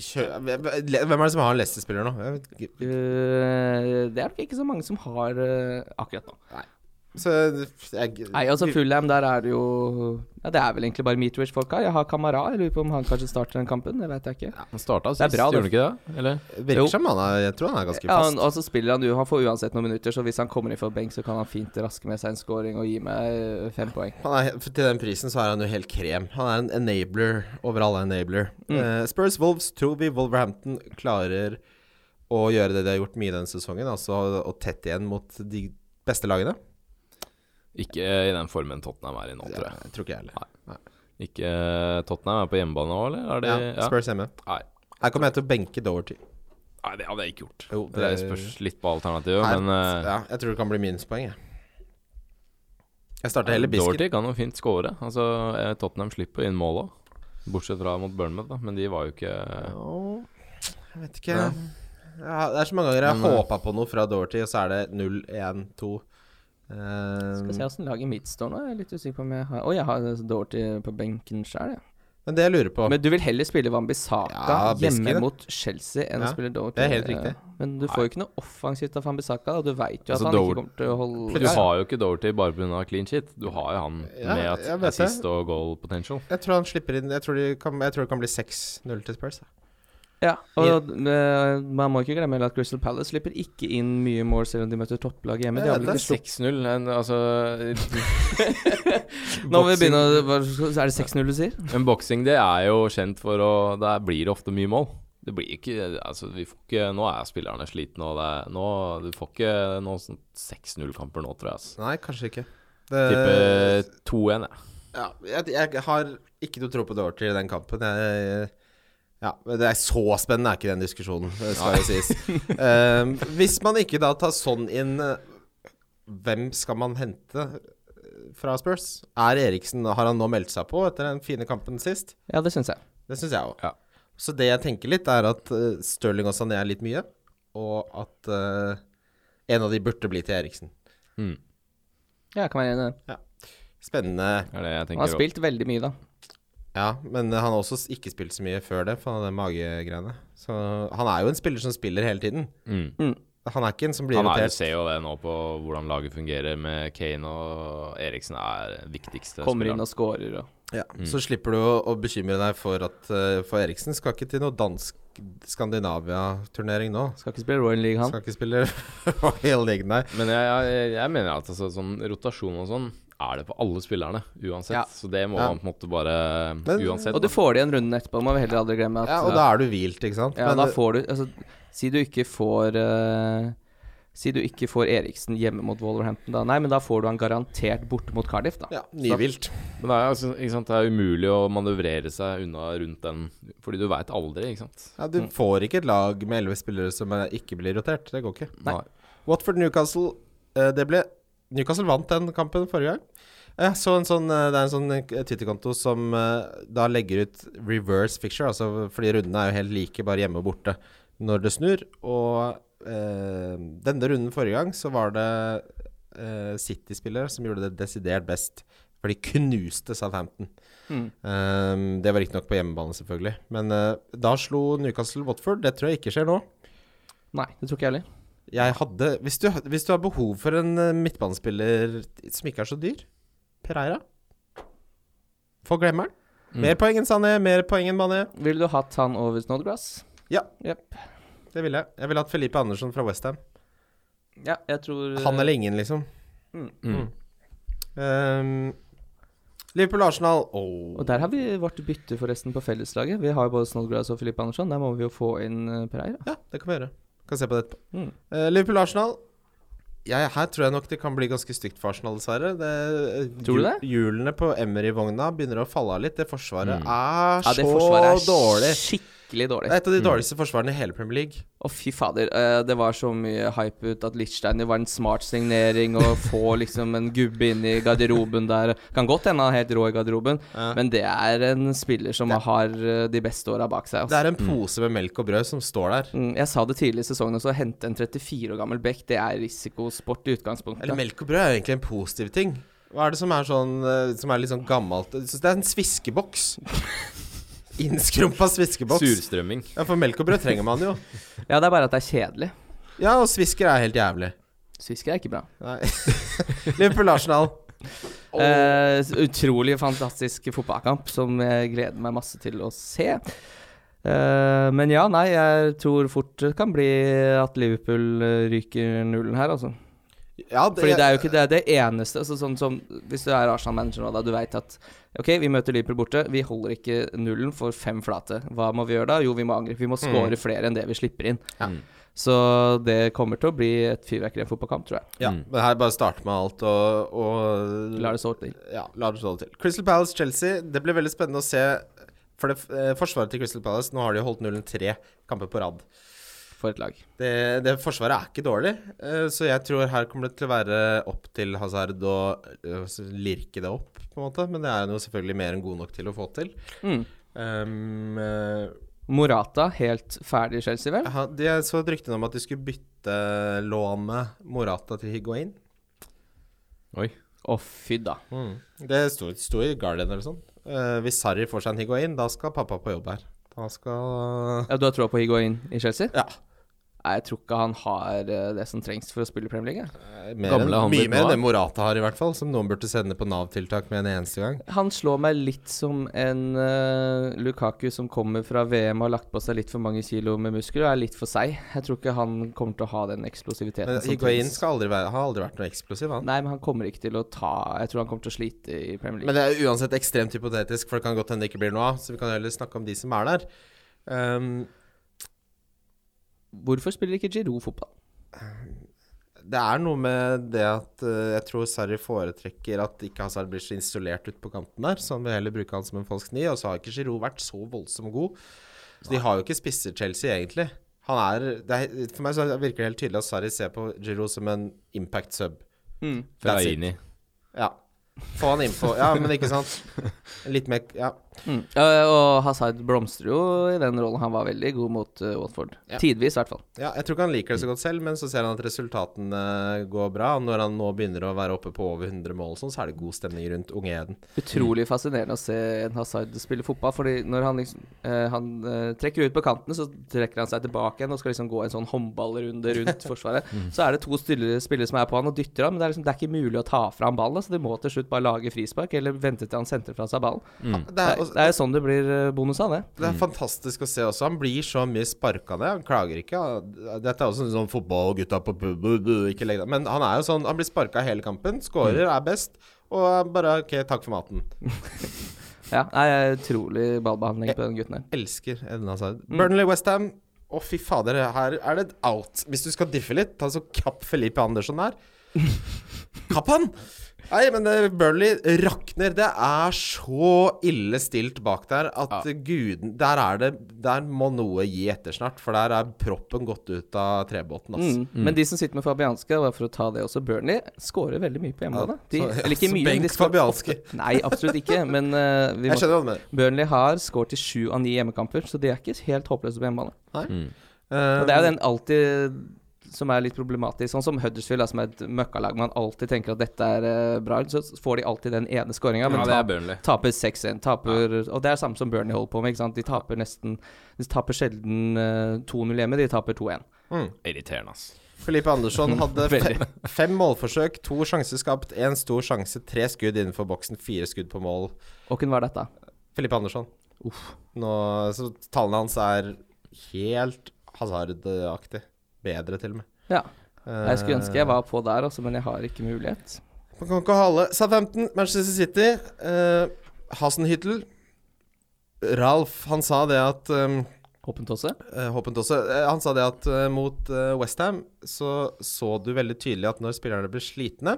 C: Kjø Hvem er det som har en Leicester-spiller nå? Jeg vet ikke.
B: Eh, det er nok ikke så mange som har eh, akkurat nå.
C: Så jeg,
B: Nei, altså Fulham, der er det jo Ja, det er vel egentlig bare Meatwich folk har. Jeg har Kamara, jeg lurer på om han kanskje starter den kampen, det vet jeg ikke.
D: Han starta
B: Det er
D: sist,
B: bra,
D: gjorde han ikke det? Eller?
B: Jo.
C: Virker som han er Jeg tror han er ganske
B: Ja, han,
C: fast.
B: og så spiller han jo, han får uansett noen minutter, så hvis han kommer inn for benk, så kan han fint raske med seg en scoring og gi meg eh, fem poeng.
C: Han er, for til den prisen så er han jo helt krem. Han er en enabler over alle enabler.
D: Mm.
C: Eh, Spurs Wolves tror vi Wolverhampton klarer å gjøre det de har gjort mye denne sesongen, altså å tette igjen mot de beste lagene.
D: Ikke i den formen Tottenham er i nå,
C: Ja,
D: tror jeg.
C: jeg tror ikke jeg heller.
D: Ikke eh, Tottenham er på hjemmebane nå, eller? Er det,
C: Ja,
D: ja.
C: Spurs hjemme.
D: Nei.
C: Her kommer jeg til å benke Doverty.
D: Nei, det hadde jeg ikke gjort.
C: Jo,
D: det
C: det-
D: spørs litt på alternativet,
C: Nei,
D: men eh,
C: ja, jeg tror det kan bli minuspoeng, jeg. Jeg starter heller Biscuit.
D: Dorothy kan jo fint score. Altså, eh, Tottenham slipper inn mål òg. Bortsett fra mot Bournemouth, da, men de var jo ikke
C: Åh, Jeg vet ikke. Ja, det er så mange ganger jeg
D: Men,
C: har
D: eh,
C: håpa på noe fra Doverty, og så er det 0, 1, 2 Eh,
B: Skal se åssen laget mitt står nå. Jeg er litt usikker på om jeg har Å, jeg har Dorty på benken sjøl, jeg.
C: Men det jeg lurer på
B: Men du vil heller spille Wambisaka
C: Ja, Bisky,
B: hjemme
C: det.
B: mot Chelsea enn
C: Ja,
B: å spille Doherty.
C: det er helt riktig.
B: Men du får jo ikke noe offensivt av Wambisaka, og du veit jo at
D: Altså,
B: han
D: Doherty-
B: ikke kommer til å holde
D: Du har jo ikke Dorothy bare pga. clean shit. Du har jo han
C: Ja,
D: med at
C: jeg vet det.
D: assist og goal potential.
C: Jeg tror han slipper inn Jeg tror, de kan, jeg tror det kan bli 6-0 til Spurs. da.
B: Ja, og eh, man må ikke glemme heller at Crystal Palace slipper ikke inn mye mål selv om de møter topplag hjemme. De
C: Ja,
B: har vel
C: det
B: ikke
C: er
B: sluppet
D: 6-0, en- altså
B: Nå må vi begynne å hva- så Er det 6-0 du sier?
D: Men boksing, det er jo kjent for å Der blir det ofte mye mål. Det blir ikke Altså, vi får ikke Nå er spillerne slitne, og det er Nå Du får ikke noen sånn 6-0-kamper nå, tror jeg, altså.
C: Nei, kanskje ikke. Det,
D: Tipper 2-1, jeg.
C: ja, jeg, jeg har ikke noe tro på Dorthy i den kampen. Jeg, ja, men det er så spennende, er ikke den diskusjonen, det skal jo sies. Um, hvis man ikke da tar sånn inn eh, Hvem skal man hente eh, fra Spurs? Er Eriksen Har han nå meldt seg på etter den fine kampen sist?
B: Ja, det syns jeg.
C: Det syns jeg òg.
D: Ja.
C: Så det jeg tenker litt, er at eh, Stirling og Sané er litt mye, og at eh, en av de burde bli til Eriksen.
B: Ja, jeg kan være enig i det.
C: Spennende.
D: Det er det jeg
B: Han har
D: tenker.
B: spilt veldig mye, da.
C: Ja, men han har også s- ikke spilt så mye før det, for han har den magegreiene. Så han er jo en spiller som spiller hele tiden.
D: Mm.
C: Han er ikke en som blir
D: Han er,
C: rotert.
D: ser jo det nå på hvordan laget fungerer med Kane og Eriksen er den viktigste
B: Kommer inn
D: spilleren.
B: og scorer og
C: Ja, Så slipper du å, å bekymre deg for at eh, For Eriksen skal ikke til noe dansk Skandinavia-turnering nå.
B: Skal ikke spille Royal League, han.
C: Skal ikke spille hele ligaen, nei.
D: Men jeg, jeg, jeg mener at altså, sånn rotasjon og sånn er det på alle spillerne, uansett.
B: Ja.
D: Så det må
C: Ja.
D: man på en måte bare
C: Men-
D: Uansett.
B: Og du får det igjen runden etterpå. Må vi heller aldri glemme at
C: Ja, og da er du hvilt, ikke sant?
B: Ja,
C: Men-
B: da får du altså, Si du ikke får eh, Si du ikke får Eriksen hjemme mot Wolverhampton, da. Nei, men da får du han garantert borte mot Cardiff, da.
C: ja, nyvilt.
D: Men det er, jo altså, ikke sant? det er umulig å manøvrere seg unna rundt den, fordi du veit aldri, ikke sant.
C: Ja, du får ikke et lag med elleve spillere som eh, ikke blir rotert. Det går ikke.
D: Nei.
C: Watford-Newcastle eh, Det ble Newcastle vant den kampen forrige gang. Jeg så en sånn, eh, det er en sånn eh, Twitter-konto som eh, da legger ut reverse picture, altså fordi rundene er jo helt like, bare hjemme og borte, når det snur. Og eh, denne runden forrige gang så var det eh, City-spillere som gjorde det desidert best, for de knuste Southampton.
B: Mm.
C: Eh, det var riktignok på hjemmebane, selvfølgelig. Men eh, da slo Newcastle Watford. Det tror jeg ikke skjer nå.
B: Nei, det tror ikke jeg heller.
C: Jeg hadde hvis du, hvis du har behov for en eh, midtbanespiller som ikke er så dyr Pereira. Få glemmeren.
D: Mm.
C: Mer poeng enn Sané, mer poeng enn Mané.
B: Ville du hatt han over Snodgrass?
C: Ja.
B: Jep.
C: Det ville jeg. Jeg ville hatt Felipe Andersson fra Westham.
B: Ja, jeg tror eh,
C: Han eller ingen, liksom.
D: Mm.
C: Um, Liverpool-Arsenal.
B: Og der har vi vårt bytte forresten på felleslaget. Vi har jo både Snodgrass og Filip Andersson. Der må vi jo få inn eh, Pereira.
C: Ja, det kan vi gjøre. Kan se på det etterpå.
B: Mm.
C: Eh, Liverpool-Arsenal. Jeg- her tror jeg nok det kan bli ganske stygt for Arsenal, dessverre. Det,
B: Tror du
C: hju-
B: det?
C: Hjulene på Emery-vogna begynner å falle av litt. Det forsvaret
D: Mm.
C: er
B: Ja,
C: så
B: det forsvaret er
C: dårlig.
B: skikkelig
C: Det
B: dårlig.
C: er et av de dårligste forsvarene i hele Premier League.
B: Å, fy fader. eh, det var så mye hype ut at Lichsteiner var en smart signering, og få liksom en gubbe inn i garderoben der. Kan godt hende han er helt rå i garderoben,
C: Ja.
B: men det er en spiller som har eh, de beste åra bak seg.
C: Det
B: Altså.
C: er en pose med melk og brød som står der.
B: Mm, jeg sa det tidlig i sesongen også, å hente en 34 år gammel bekk, det er risikosport i
C: Eller
B: utgangspunktet.
C: melk og brød er jo egentlig en positiv ting. Hva er det som er sånn eh, Som er litt sånn gammelt Jeg synes Det er en sviskeboks. Innskrumpa sviskeboks.
D: Surstrømming.
C: Ja, for melk og brød trenger man jo.
B: Ja, det er bare at det er kjedelig.
C: Ja, og svisker er helt jævlig.
B: Svisker er ikke bra.
C: Nei. Liverpool Arsenal.
B: Eh, s- utrolig fantastisk fotballkamp som jeg gleder meg masse til å se. Eh, men ja, nei, jeg tror fort det kan bli at Liverpool eh, ryker nullen her, altså.
C: Ja,
B: Fordi det er jo ikke det, det eneste altså, sånn som, Hvis du er Arsenal-manager nå, da, du veit at OK, vi møter Liverpool borte, vi holder ikke nullen for fem flate. Hva må vi gjøre da? Jo, vi må angripe. Vi må score flere enn det vi slipper inn.
C: Ja.
B: Så det kommer til å bli et fyrverkeri av en fotballkamp, tror jeg.
C: ja,
D: Mm.
C: men her bare starte med alt og, og
B: Lar det så til.
C: Ja, la det stå til. Crystal Palace-Chelsea, det blir veldig spennende å se. For det, eh, forsvaret til Crystal Palace, nå har de jo holdt nullen tre kamper på rad.
B: For et lag.
C: Det, det forsvaret er ikke dårlig, eh, så jeg tror her kommer det til å være opp til Hazard å eh, s- lirke det opp, på en måte. Men det er han jo selvfølgelig mer enn god nok til å få til.
B: Mm.
C: Um, eh,
B: Morata helt ferdig i Chelsea, vel?
C: ha- de- jeg så et rykte om at de skulle bytte lånet Morata til Higuain.
D: Oi.
B: Å, fy da.
C: Det sto, sto i Guardian eller sånn. Eh, hvis Sarri får seg en Higuain, da skal pappa på jobb her. Da skal
B: Ja, du har troa på Higuain i Chelsea?
C: Ja.
B: Nei, jeg tror ikke han har eh, det som trengs for å spille i Premier League. jeg.
C: eh, mer
D: Gamle
C: enn,
D: han
C: mye
D: blitt
C: mer
D: nå,
C: enn
D: da.
C: det Morata har, i hvert fall. Som noen burde sende på Nav-tiltak med en eneste gang.
B: Han slår meg litt som en eh, Lukaku som kommer fra VM, har lagt på seg litt for mange kilo med muskler og er litt for seig. Jeg tror ikke han kommer til å ha den eksplosiviteten.
C: Men
B: som
C: Higuain
B: trengs.
C: skal aldri være, har aldri vært noe eksplosiv, han.
B: Nei, men han kommer ikke til å ta Jeg tror han kommer til å slite i Premier League.
C: Men det er uansett ekstremt hypotetisk, for det kan godt hende det ikke blir noe av. Så vi kan heller snakke om de som er der. Ehm,
B: Hvorfor spiller ikke Giroud fotball?
C: det er noe med det at eh, jeg tror Sarri foretrekker at ikke Hazard blir så installert ute på kanten der, så han vil heller bruke han som en falsk ni. Og så har ikke Giroud vært så voldsomt god. Så de har jo ikke spisser Chelsea, egentlig. Han er, det er, for meg så virker det helt tydelig at Sarri ser på Giroud som en impact sub. That's it.
D: Fellaini.
C: Ja. Få han innpå. Ja, men ikke sant? Litt mer Ja.
B: Mm. Eh, og Hazard blomstrer jo i den rollen. Han var veldig god mot eh, Watford.
C: Ja.
B: Tidvis, i hvert fall.
C: Ja, jeg tror ikke han liker det så godt selv, men så ser han at resultatene går bra. Og når han nå begynner å være oppe på over 100 mål, og sånn, så er det god stemning rundt unge Eden.
B: Utrolig fascinerende å se en Hazard spille fotball. Fordi når han liksom eh, Han eh, trekker ut på kanten, så trekker han seg tilbake igjen og skal liksom gå en sånn håndballrunde rundt forsvaret.
C: Mm.
B: Så er det to stille- spillere som er på han og dytter han, men det er liksom Det er ikke mulig å ta fra han ballen. Så de må til slutt bare lage frispark eller vente til han sentrer fra seg ballen.
C: Det
B: Det
C: er,
B: er,
C: også,
B: det er jo sånn det blir eh, bonus av det.
C: det er fantastisk å se også. Han blir så mye sparka ned. Han klager ikke. Han- Dette er også en sånn fotball, gutta på bu, bu, bu, ikke legg deg Men han er jo sånn Han blir sparka hele kampen, skårer, er best. Og bare OK, takk for maten.
B: Ja, nei, jeg er utrolig ballbehandling på den gutten her.
C: Elsker Edna Hazard.
B: Mm.
C: Burnley, Westham. Å, fy fader, her er det et out. Hvis du skal diffe litt, ta så kapp Felipe Andersson her. Kapp han! Nei, men det- Burnley rakner. Det er så ille stilt bak der at guden Der er det Der må noe gi etter snart, for der er proppen gått ut av trebåten, altså.
B: Mm. Men de som sitter med Fabianski, bare for å ta det også, Burnley scorer veldig mye på hjemmebane. De,
C: Ja, så-
B: eller ikke
C: så
B: mye, men
C: benk
B: de scorer
C: Fabianski.
B: ofte. Nei, absolutt ikke. Men eh, vi
C: Jeg
B: må,
C: skjønner hva du mener.
B: Burnley har scoret i sju av ni hjemmekamper, så de er ikke helt håpløse på hjemmebane.
C: Eh,
B: Og det er
D: Um,
B: jo den alltid som er litt problematisk, sånn som Huddersfield, da, som er et møkkalag man alltid tenker at dette er eh, bra, så får de alltid den ene skåringa, men
D: Ja, det er
B: tap,
D: Burnley.
B: taper 6-1. Taper, Og det er samme som Burnley holder på med, ikke sant. De taper nesten De taper sjelden eh, 2-0 hjemme, de taper 2-1.
D: Irriterende, ass.
C: Felipe Andersson hadde fe
B: Veldig.
C: fem målforsøk, to sjanser skapt, én stor sjanse, tre skudd innenfor boksen, fire skudd på mål.
B: Og hvem var dette?
C: Felipe Andersson. Nå, så tallene hans er helt hasardaktig. Bedre, til og med.
B: Ja. Jeg skulle ønske jeg
C: var
B: var på der, altså, men jeg har ikke mulighet.
C: Eh, Man kan ikke ha alle. Southampton, Manchester City, eh, Hasenhyttel Ralf, han sa det at eh,
B: Håpent også.
C: Eh, Håpent også. Eh, Han sa det at eh, mot eh, West Westham så så du veldig tydelig at når spillerne ble slitne,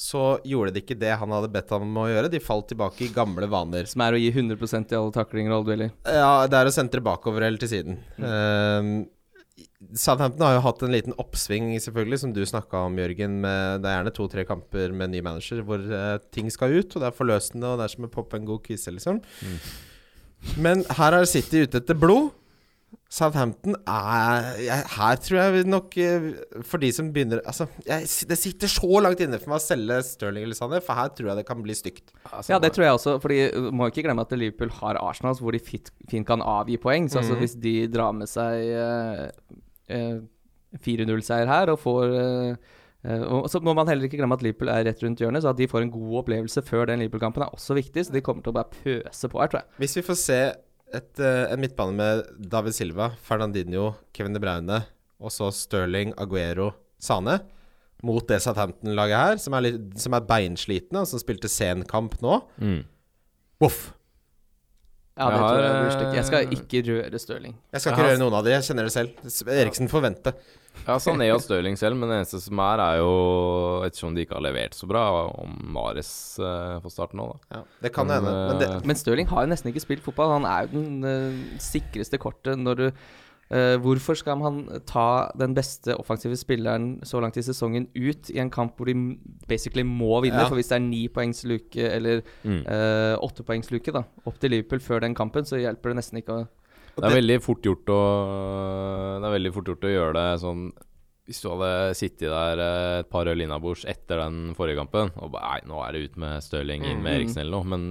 C: så gjorde de ikke det han hadde bedt ham om å gjøre. De falt tilbake i gamle vaner.
B: Som er å gi 100 i alle taklinger og alle dueller.
C: Ja, det er å sentre bakover eller til siden. Eh, Southampton har jo hatt en liten oppsving, selvfølgelig, som du snakka om, Jørgen. Med, det er gjerne to-tre kamper med ny manager hvor eh, ting skal ut, og det er forløsende, og det er som å poppe en god kvise, liksom. Men her er City ute etter blod. Southampton er jeg, Her tror jeg vi nok eh, For de som begynner Altså, jeg, det sitter så langt inne for meg å selge Sterling eller Sané, for her tror jeg det kan bli stygt.
B: Ja,
D: Altså,
B: det tror jeg også. Fordi uh, må ikke glemme at Liverpool har Arsenal, hvor de fit, fint kan avgi poeng. Så
D: Mm.
B: altså, hvis de drar med seg eh, eh, 4-0-seier her og får eh, eh, og så må man heller ikke glemme at Liverpool er rett rundt hjørnet, så at de får en god opplevelse før den Liverpool-kampen er også viktig. Så de kommer til å bare pøse på her, tror jeg.
C: Hvis vi får se et, eh, en midtbane med David Silva, Fernandinho, Kevin De Bruyne og så Sterling, Aguero, Sane mot det Southampton-laget her, som er, litt, som er beinslitne, og som spilte sen kamp nå
D: Mm.
C: Voff!
B: Ja, det
D: Jeg har,
B: tror jeg blir stygt. Jeg skal
D: eh,
B: ikke røre Stirling.
C: Jeg skal ikke
D: Ja.
C: røre noen av de, jeg kjenner det selv. S- Eriksen får vente.
D: Ja, Sané og Stirling selv, men det eneste som er, er jo Ettersom de ikke har levert så bra, om Mares eh, får starte nå, da.
C: Ja, det kan
D: Men,
C: hende. Men det,
D: eh,
B: Men Stirling har jo nesten ikke spilt fotball. Han er jo den eh, sikreste kortet når du eh, hvorfor skal han ta den beste offensive spilleren så langt i sesongen ut i en kamp hvor de m- basically må vinne?
C: Ja.
B: For hvis det er ni poengs luke eller
D: Mm.
B: eh, åtte poengs luke da, opp til Liverpool før den kampen, så hjelper det nesten ikke å
D: Det er veldig fort gjort å Det er veldig fort gjort å gjøre det sånn Hvis du hadde sittet der eh, et par øl innabords etter den forrige kampen og bare Nei, nå er det ut med Stirling, inn med Eriksen eller noe. Men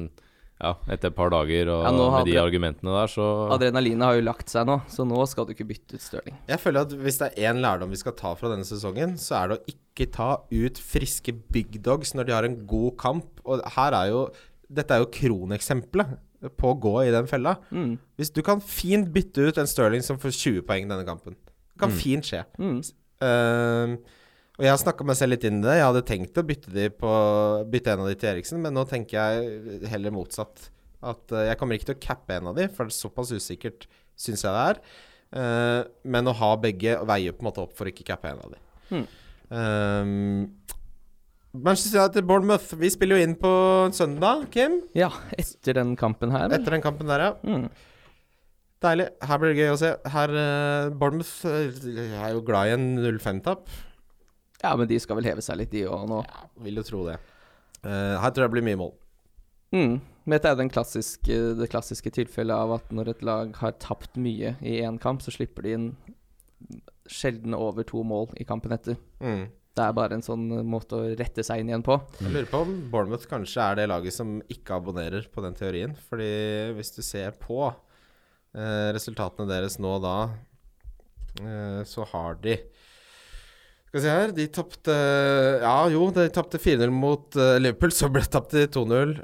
D: ja, etter et par dager og
B: Mm. Ja, nå har
D: med de
B: dere-
D: argumentene der, så
B: Adrenalinet har jo lagt seg nå, så nå skal du ikke bytte ut Stirling.
D: eh,
C: jeg føler at hvis det er én lærdom vi skal ta fra denne sesongen, så er det å ikke ta ut friske big dogs når de har en god kamp. Og her er jo Dette er jo kroneksempelet på å gå i den fella.
B: Mm,
C: Hvis du kan fint bytte ut en Sterling som får 20 poeng denne kampen. Det kan fint skje.
B: mm.
C: Ehm, og jeg har snakka meg selv litt inn i det. Jeg hadde tenkt å bytte, de på, bytte en av de til Eriksen, men nå tenker jeg heller motsatt. At eh, jeg kommer ikke til å cappe en av de, for det er såpass usikkert syns jeg det er. Eh, men å ha begge veier på en måte opp for å ikke cappe en av de. Ehm, Manchester United Bournemouth, vi spiller jo inn på søndag, Kim.
B: Ja, etter den kampen her, vel.
C: Etter den kampen der, ja.
B: Mm.
C: Deilig. Her blir det gøy å se. Her, eh, Bournemouth eh, er jo glad i en 0-5-tapp.
B: Ja, men de skal vel heve seg litt, de òg nå.
C: Ja, vil jo tro det. Eh, her tror jeg det blir mye mål.
B: Mm. Men dette er jo den klassiske, det klassiske tilfellet av at når et lag har tapt mye i én kamp, så slipper de inn sjelden over to mål i kampen etter.
C: Mm.
B: Det er bare en sånn måte å rette seg inn igjen på.
C: Jeg lurer på om Bournemouth kanskje er det laget som ikke abonnerer på den teorien. Fordi hvis du ser på eh, resultatene deres nå da, eh, så har de Skal vi se her De tapte Ja, jo, de tapte 4-0 mot eh, Liverpool, så ble det tapt til 2-0.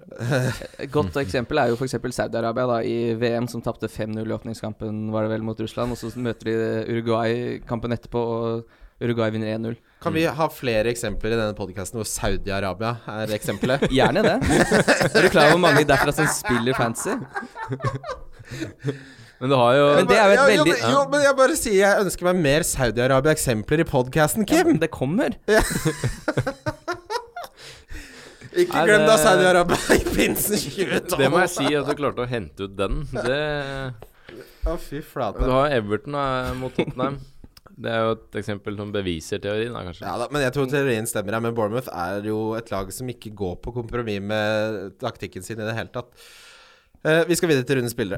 B: Et godt eksempel er jo f.eks. Saudi-Arabia da, i VM, som tapte 5-0 i eh, åpningskampen, var det vel, mot Russland. Og så møter de Uruguay kampen etterpå, og Uruguay vinner 1-0.
C: Kan vi ha flere eksempler i denne podkasten hvor Saudi-Arabia er eksempelet?
B: Gjerne det. Er du klar over hvor mange derfra som spiller fancy?
D: Men du har jo
B: Men det er jo et
C: Ja, jo,
B: veldig-
C: men- Jo, men jeg bare sier jeg ønsker meg mer Saudi-Arabia-eksempler i podkasten, Kim!
B: Det kommer.
C: Ikke
B: Nei,
C: glem da
B: det-
C: Saudi-Arabia i pinsen 2012!
D: Det må jeg si at du klarte å hente ut den. Det
C: Å, fy flate.
D: Du har Everton da, mot Tottenham. Det er jo et eksempel som beviser teorien, da, kanskje.
C: Ja da, men jeg tror teorien stemmer her. Men Bournemouth er jo et lag som ikke går på kompromiss med taktikken sin i det hele tatt. Eh, vi skal videre til rundens spillere.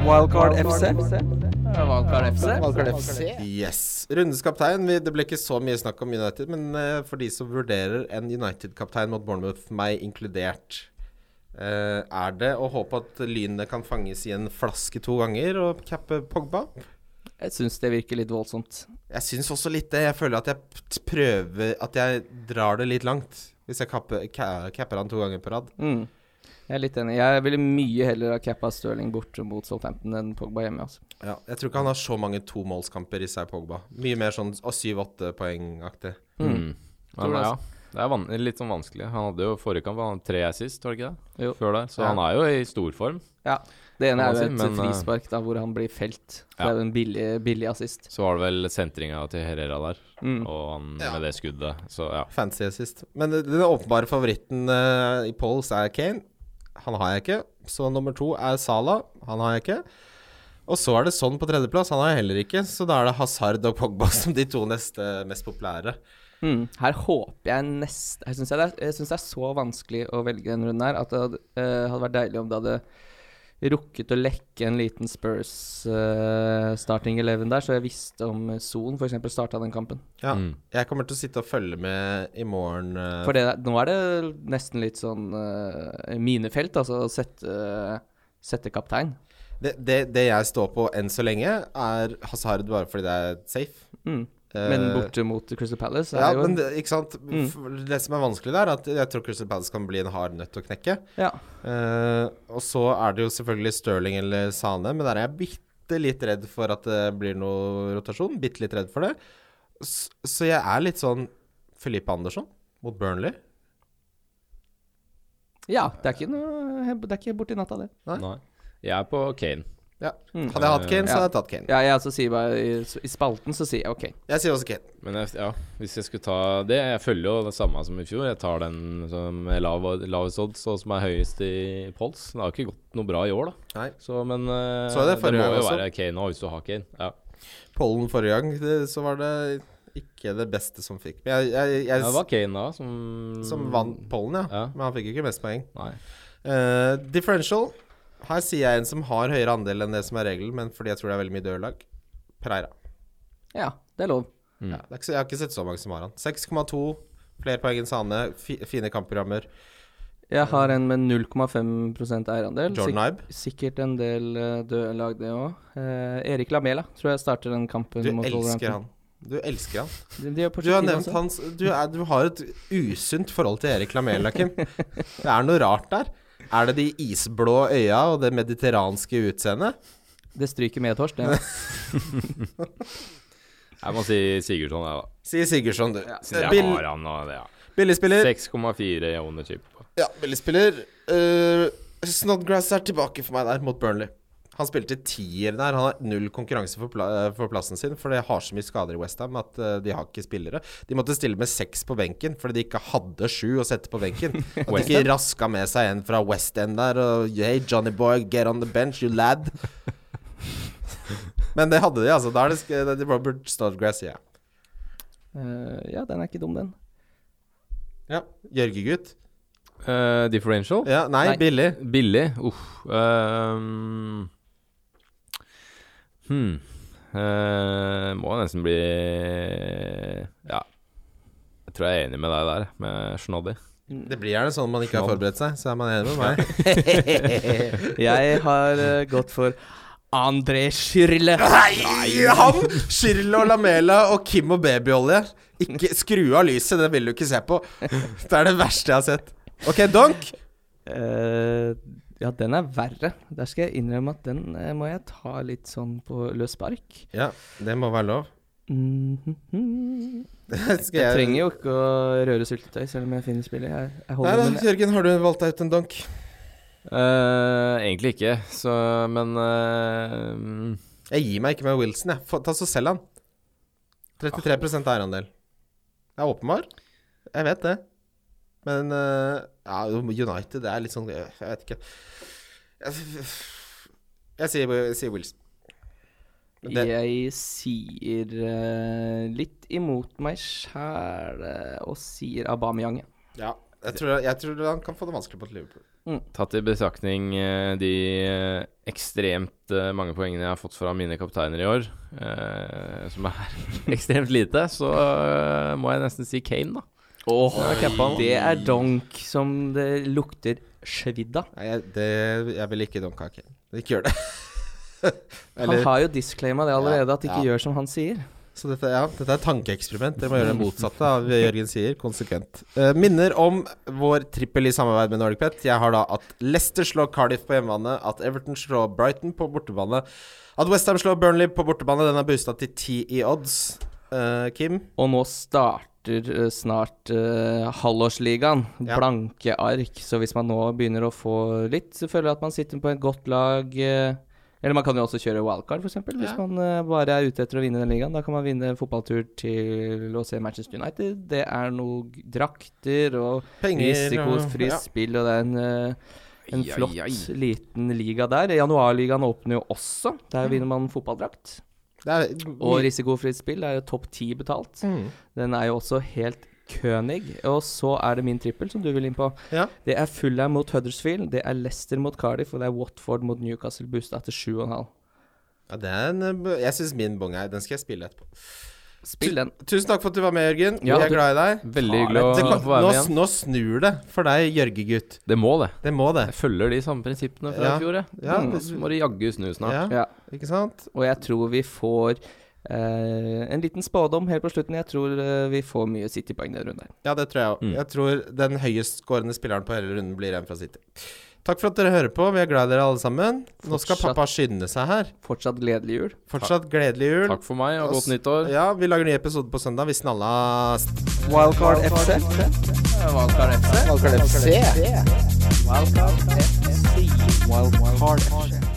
A: Wildcard FC.
B: Valgkar FC.
A: Wildcard FC.
C: Yes. Rundens kaptein. vi- Det ble ikke så mye snakk om United, men eh, for de som vurderer en United-kaptein mot Bournemouth, meg inkludert, eh, er det å håpe at lynet kan fanges i en flaske to ganger og cappe Pogba?
B: Jeg syns det virker litt voldsomt.
C: Jeg syns også litt det. Jeg føler at jeg p- prøver At jeg drar det litt langt. Hvis jeg kapper, ca- capper han to ganger på rad.
B: Mm. Jeg er litt enig. Jeg ville mye heller ha cappa Stirling bort mot Southampton enn Pogba hjemme. Altså.
C: Ja, jeg tror ikke han har så mange tomålskamper i seg, Pogba. Mye mer sånn syv-åtte poengaktig.
D: Mm.
B: Tror
D: Men
B: det,
D: ja, det er van litt sånn vanskelig. Han hadde jo forrige kamp han hadde tre assist, var det ikke det?
B: Jo.
D: Før der. Så
C: Ja.
D: han er jo i storform.
B: Det ene er
D: Kan
B: jo et
D: man si, men, eh,
B: frispark da, hvor han blir felt. Det
D: Ja.
B: er jo en billig, billig assist.
D: Så var det vel sentringa til Herrera der,
B: Mm.
D: og han
C: Ja.
D: med det skuddet. Så ja.
C: Fancy assist. Men eh, den åpenbare favoritten eh, i polls er Kane. Han har jeg ikke. Så nummer to er Salah. Han har jeg ikke. Og så er det sånn på tredjeplass. Han har jeg heller ikke. Så da er det Hazard og Pogba som de to neste mest populære.
B: Mm. Her håper jeg nest Her syns jeg, det er- jeg synes det er så vanskelig å velge denne runden her at det hadde, eh, hadde vært deilig om det hadde rukket å lekke en liten Spurs eh, starting eleven der, så jeg visste om Son f.eks. starta den kampen.
C: Ja.
D: Mm.
C: Jeg kommer til å sitte og følge med i morgen. eh,
B: For det, nå er det nesten litt sånn eh, minefelt, altså å sette, sette kaptein.
C: Det, det, det jeg står på enn så lenge, er Hazard bare fordi det er safe.
B: Mm. Men
C: Eh,
B: borte mot Crystal Palace så
C: Ja,
B: er det jo Mm.
C: men det, ikke sant? F- Det som er vanskelig der, er at jeg tror Crystal Palace kan bli en hard nøtt å knekke.
B: ja.
C: Eh, og så er det jo selvfølgelig Sterling eller Sane, men der er jeg bitte litt redd for at det blir noe rotasjon. Bitte litt redd for det. S så jeg er litt sånn Filippe Andersson mot Burnley.
B: ja, det er ikke noe Det er ikke borti natta, det.
C: Nei.
D: Nei. Jeg er på Kane.
C: Ja.
B: Mm.
C: Hadde jeg hatt Kane, så
B: Ja.
C: hadde jeg tatt Kane.
B: Ja, jeg altså sier bare i, I spalten så sier jeg OK.
C: Jeg sier også Kane.
D: Men jeg, ja, hvis jeg skulle ta det Jeg følger jo det samme som i fjor. Jeg tar den som er lav, lavest odds, og som er høyest i pols. Det har ikke gått noe bra i år, da.
C: Nei.
D: Så, men eh,
C: Så er det forrige
D: må
C: gang
D: jo
C: også.
D: være Kane nå, hvis du har Kane. Ja.
C: Pollen forrige gang, det, så var det ikke det beste som fikk. Men jeg, jeg, jeg,
D: Ja, det var Kane da som
C: Som vant pollen, ja.
D: Ja.
C: Men han fikk jo ikke mest poeng.
D: Nei.
C: Eh, differential. Her sier jeg en som har høyere andel enn det som er regelen, men fordi jeg tror det er veldig mye dørlag. Pereira.
B: Ja, det er lov.
C: Ja, det er ikke, så- jeg har ikke sett så mange som har han. 6,2. Flere poeng enn Sane. Fi, fine kampprogrammer.
B: Jeg har en med 0,5 eierandel.
C: Jordan Ibe.
B: sikkert en del eh, døde lag, det òg. Erik Lamela tror jeg starter den kampen
C: Du
B: mot
C: elsker
B: Wolverhampton.
C: han. Du elsker han.
B: De, de er på
C: Du har
B: Argentina
C: nevnt
B: også.
C: hans Du, er, du har et usunt forhold til Erik Lamela, Kim. Det er noe rart der. Er det de isblå øya og det mediterranske utseendet?
B: Det stryker med Torsten. Ja.
D: Jeg må si Sigurdsson, jeg, da.
C: Sier Sigurdsson, du.
D: Siden jeg
C: Bill-
D: har han og det, ja.
C: Billigspiller.
D: 6,4 i owner chip.
C: Ja, billigspiller. Uh, Snodgrass er tilbake for meg der, mot Burnley. Han spilte tier der. Han har null konkurranse for, pla eh, for plassen sin, for det har så mye skader i Westham at eh, de har ikke spillere. De måtte stille med seks på benken fordi de ikke hadde sju å sette på benken. At de ikke raska med seg en fra West End der og Hey, Johnny boy, get on the bench, you lad. Men det hadde de, altså. Da er det sk- det er Robert Snodgrass, ja.
B: Eh, ja, den er ikke dum, den.
C: ja. Jørgegutt.
D: Eh, differential?
C: Ja, nei,
B: Nei.
C: billig.
D: Billig? Uff. ehm. hmm. Eh, må nesten bli Ja. Jeg tror jeg er enig med deg der, med Snoddy.
C: Det blir gjerne sånn når man ikke har
D: Snod.
C: forberedt seg, så er man enig med meg.
B: Jeg har eh, gått for André Schirle.
C: Nei, han! Shirl og Lamela og Kim og babyolje. Ikke skru av lyset, det vil du ikke se på. Det er det verste jeg har sett. Ok, Donk.
B: Eh, ja, den er verre. Der skal jeg innrømme at den eh, må jeg ta litt sånn på løs spark.
C: Ja, det må være lov. Skal
B: Mhm. Jeg trenger jo ikke å røre syltetøy, selv om jeg finner spillet. Jeg, jeg
C: Nei
B: holder
C: da,
B: min-
C: Jørgen, har du valgt deg ut en donk?
D: Eh, egentlig ikke, så Men eh, mm,
C: Jeg gir meg ikke med Wilson, jeg. Få- Ta så selg han. 33 eierandel. Det er åpenbar. Jeg vet det. Men eh, ja, United det er litt sånn Jeg vet ikke. Jeg, jeg, sier, jeg sier Wilson. Men det-
B: Jeg sier eh, litt imot meg sjæl og sier Aubameyang. ja.
C: Ja. Jeg tror, jeg tror han kan få det vanskelig mot Liverpool.
D: tatt i betraktning eh, de eh, ekstremt eh, mange poengene jeg har fått fra mine kapteiner i år, eh, som er ekstremt lite, så eh, må jeg nesten si Kane, da.
B: Oi. det er donk som det lukter svidd av.
C: Nei, jeg, det, jeg vil ikke donke Kane. Ikke gjør det.
B: Han
C: Eller-
B: har jo disclaima det allerede, at ikke
C: ja.
B: gjør som han sier.
C: Så dette, ja, dette er et tankeeksperiment. Dere må gjøre det motsatte av det Jørgen sier, konsekvent. Eh, minner om vår trippel i samarbeid med Nordic Pet. Jeg har da at Leicester slår Cardiff på hjemmebane, at Everton slår Brighton på bortebane, at Westham slår Burnley på bortebane. Den er boosta til 10 i odds. Eh, Kim?
B: Og nå starter eh, snart eh, halvårsligaen.
C: Ja.
B: Blanke ark. Så hvis man nå begynner å få litt, så føler jeg at man sitter på et godt lag. eh, eller man kan jo også kjøre wildcard, f.eks. eksempel Hvis man eh, bare er ute etter å vinne den ligaen. Da kan man vinne fotballtur til å se Manchester United. Det er noe g- drakter og
C: Penger
B: risikofritt
C: ja.
B: spill, og det er en eh,
D: Ai,
B: en
D: ai,
B: flott
D: ai.
B: liten liga der. Januarligaen åpner jo også.
C: Mm.
B: Der vinner man fotballdrakt.
C: Det er,
B: Og risikofritt spill er jo topp ti betalt.
C: mm.
B: Den er jo også helt König. Og så er det min trippel som du vil inn på.
C: Ja.
B: Det er Fulham mot Huddersfield, det er Leicester mot Cardiff, og det er Watford mot Newcastle Boosta til 7,5.
C: ja, det er en eh, Jeg syns min bong er Den skal jeg spille etterpå.
B: Spill den.
C: Tusen takk for at du var med, Jørgen.
B: Ja,
C: Vi er
B: du-
C: glad i deg.
D: Veldig hyggelig
C: Det
D: å
C: kan,
D: få være
C: nå,
D: med igjen.
C: nå snur det for deg, Jørge-gutt.
D: Det må det.
C: Det må det.
D: Jeg følger de samme prinsippene fra
C: Ja.
D: i fjor, jeg.
C: Ja,
D: Mm,
C: det-
D: så må de jaggu snu snart.
B: Ja.
C: Ja, ikke sant?
B: Og jeg tror vi får eh, en liten spådom helt på slutten. Jeg tror eh, vi får mye City-poeng denne runden. her.
C: Ja, det tror jeg òg.
D: Mm.
C: Jeg tror den høyestskårende spilleren på hele runden blir en fra City. Takk for at dere hører på. Vi er glad i dere alle sammen. Nå skal
B: Fortsatt.
C: pappa skynde seg her.
B: Fortsatt gledelig jul.
C: Fortsatt gledelig jul.
D: Takk for meg, og
C: Ass-
D: godt nyttår.
C: Ja, vi lager ny episode på søndag. Vi snallas.
A: Wildcard FC. Wildcard FC. Wildcard FC. Wildcard FC.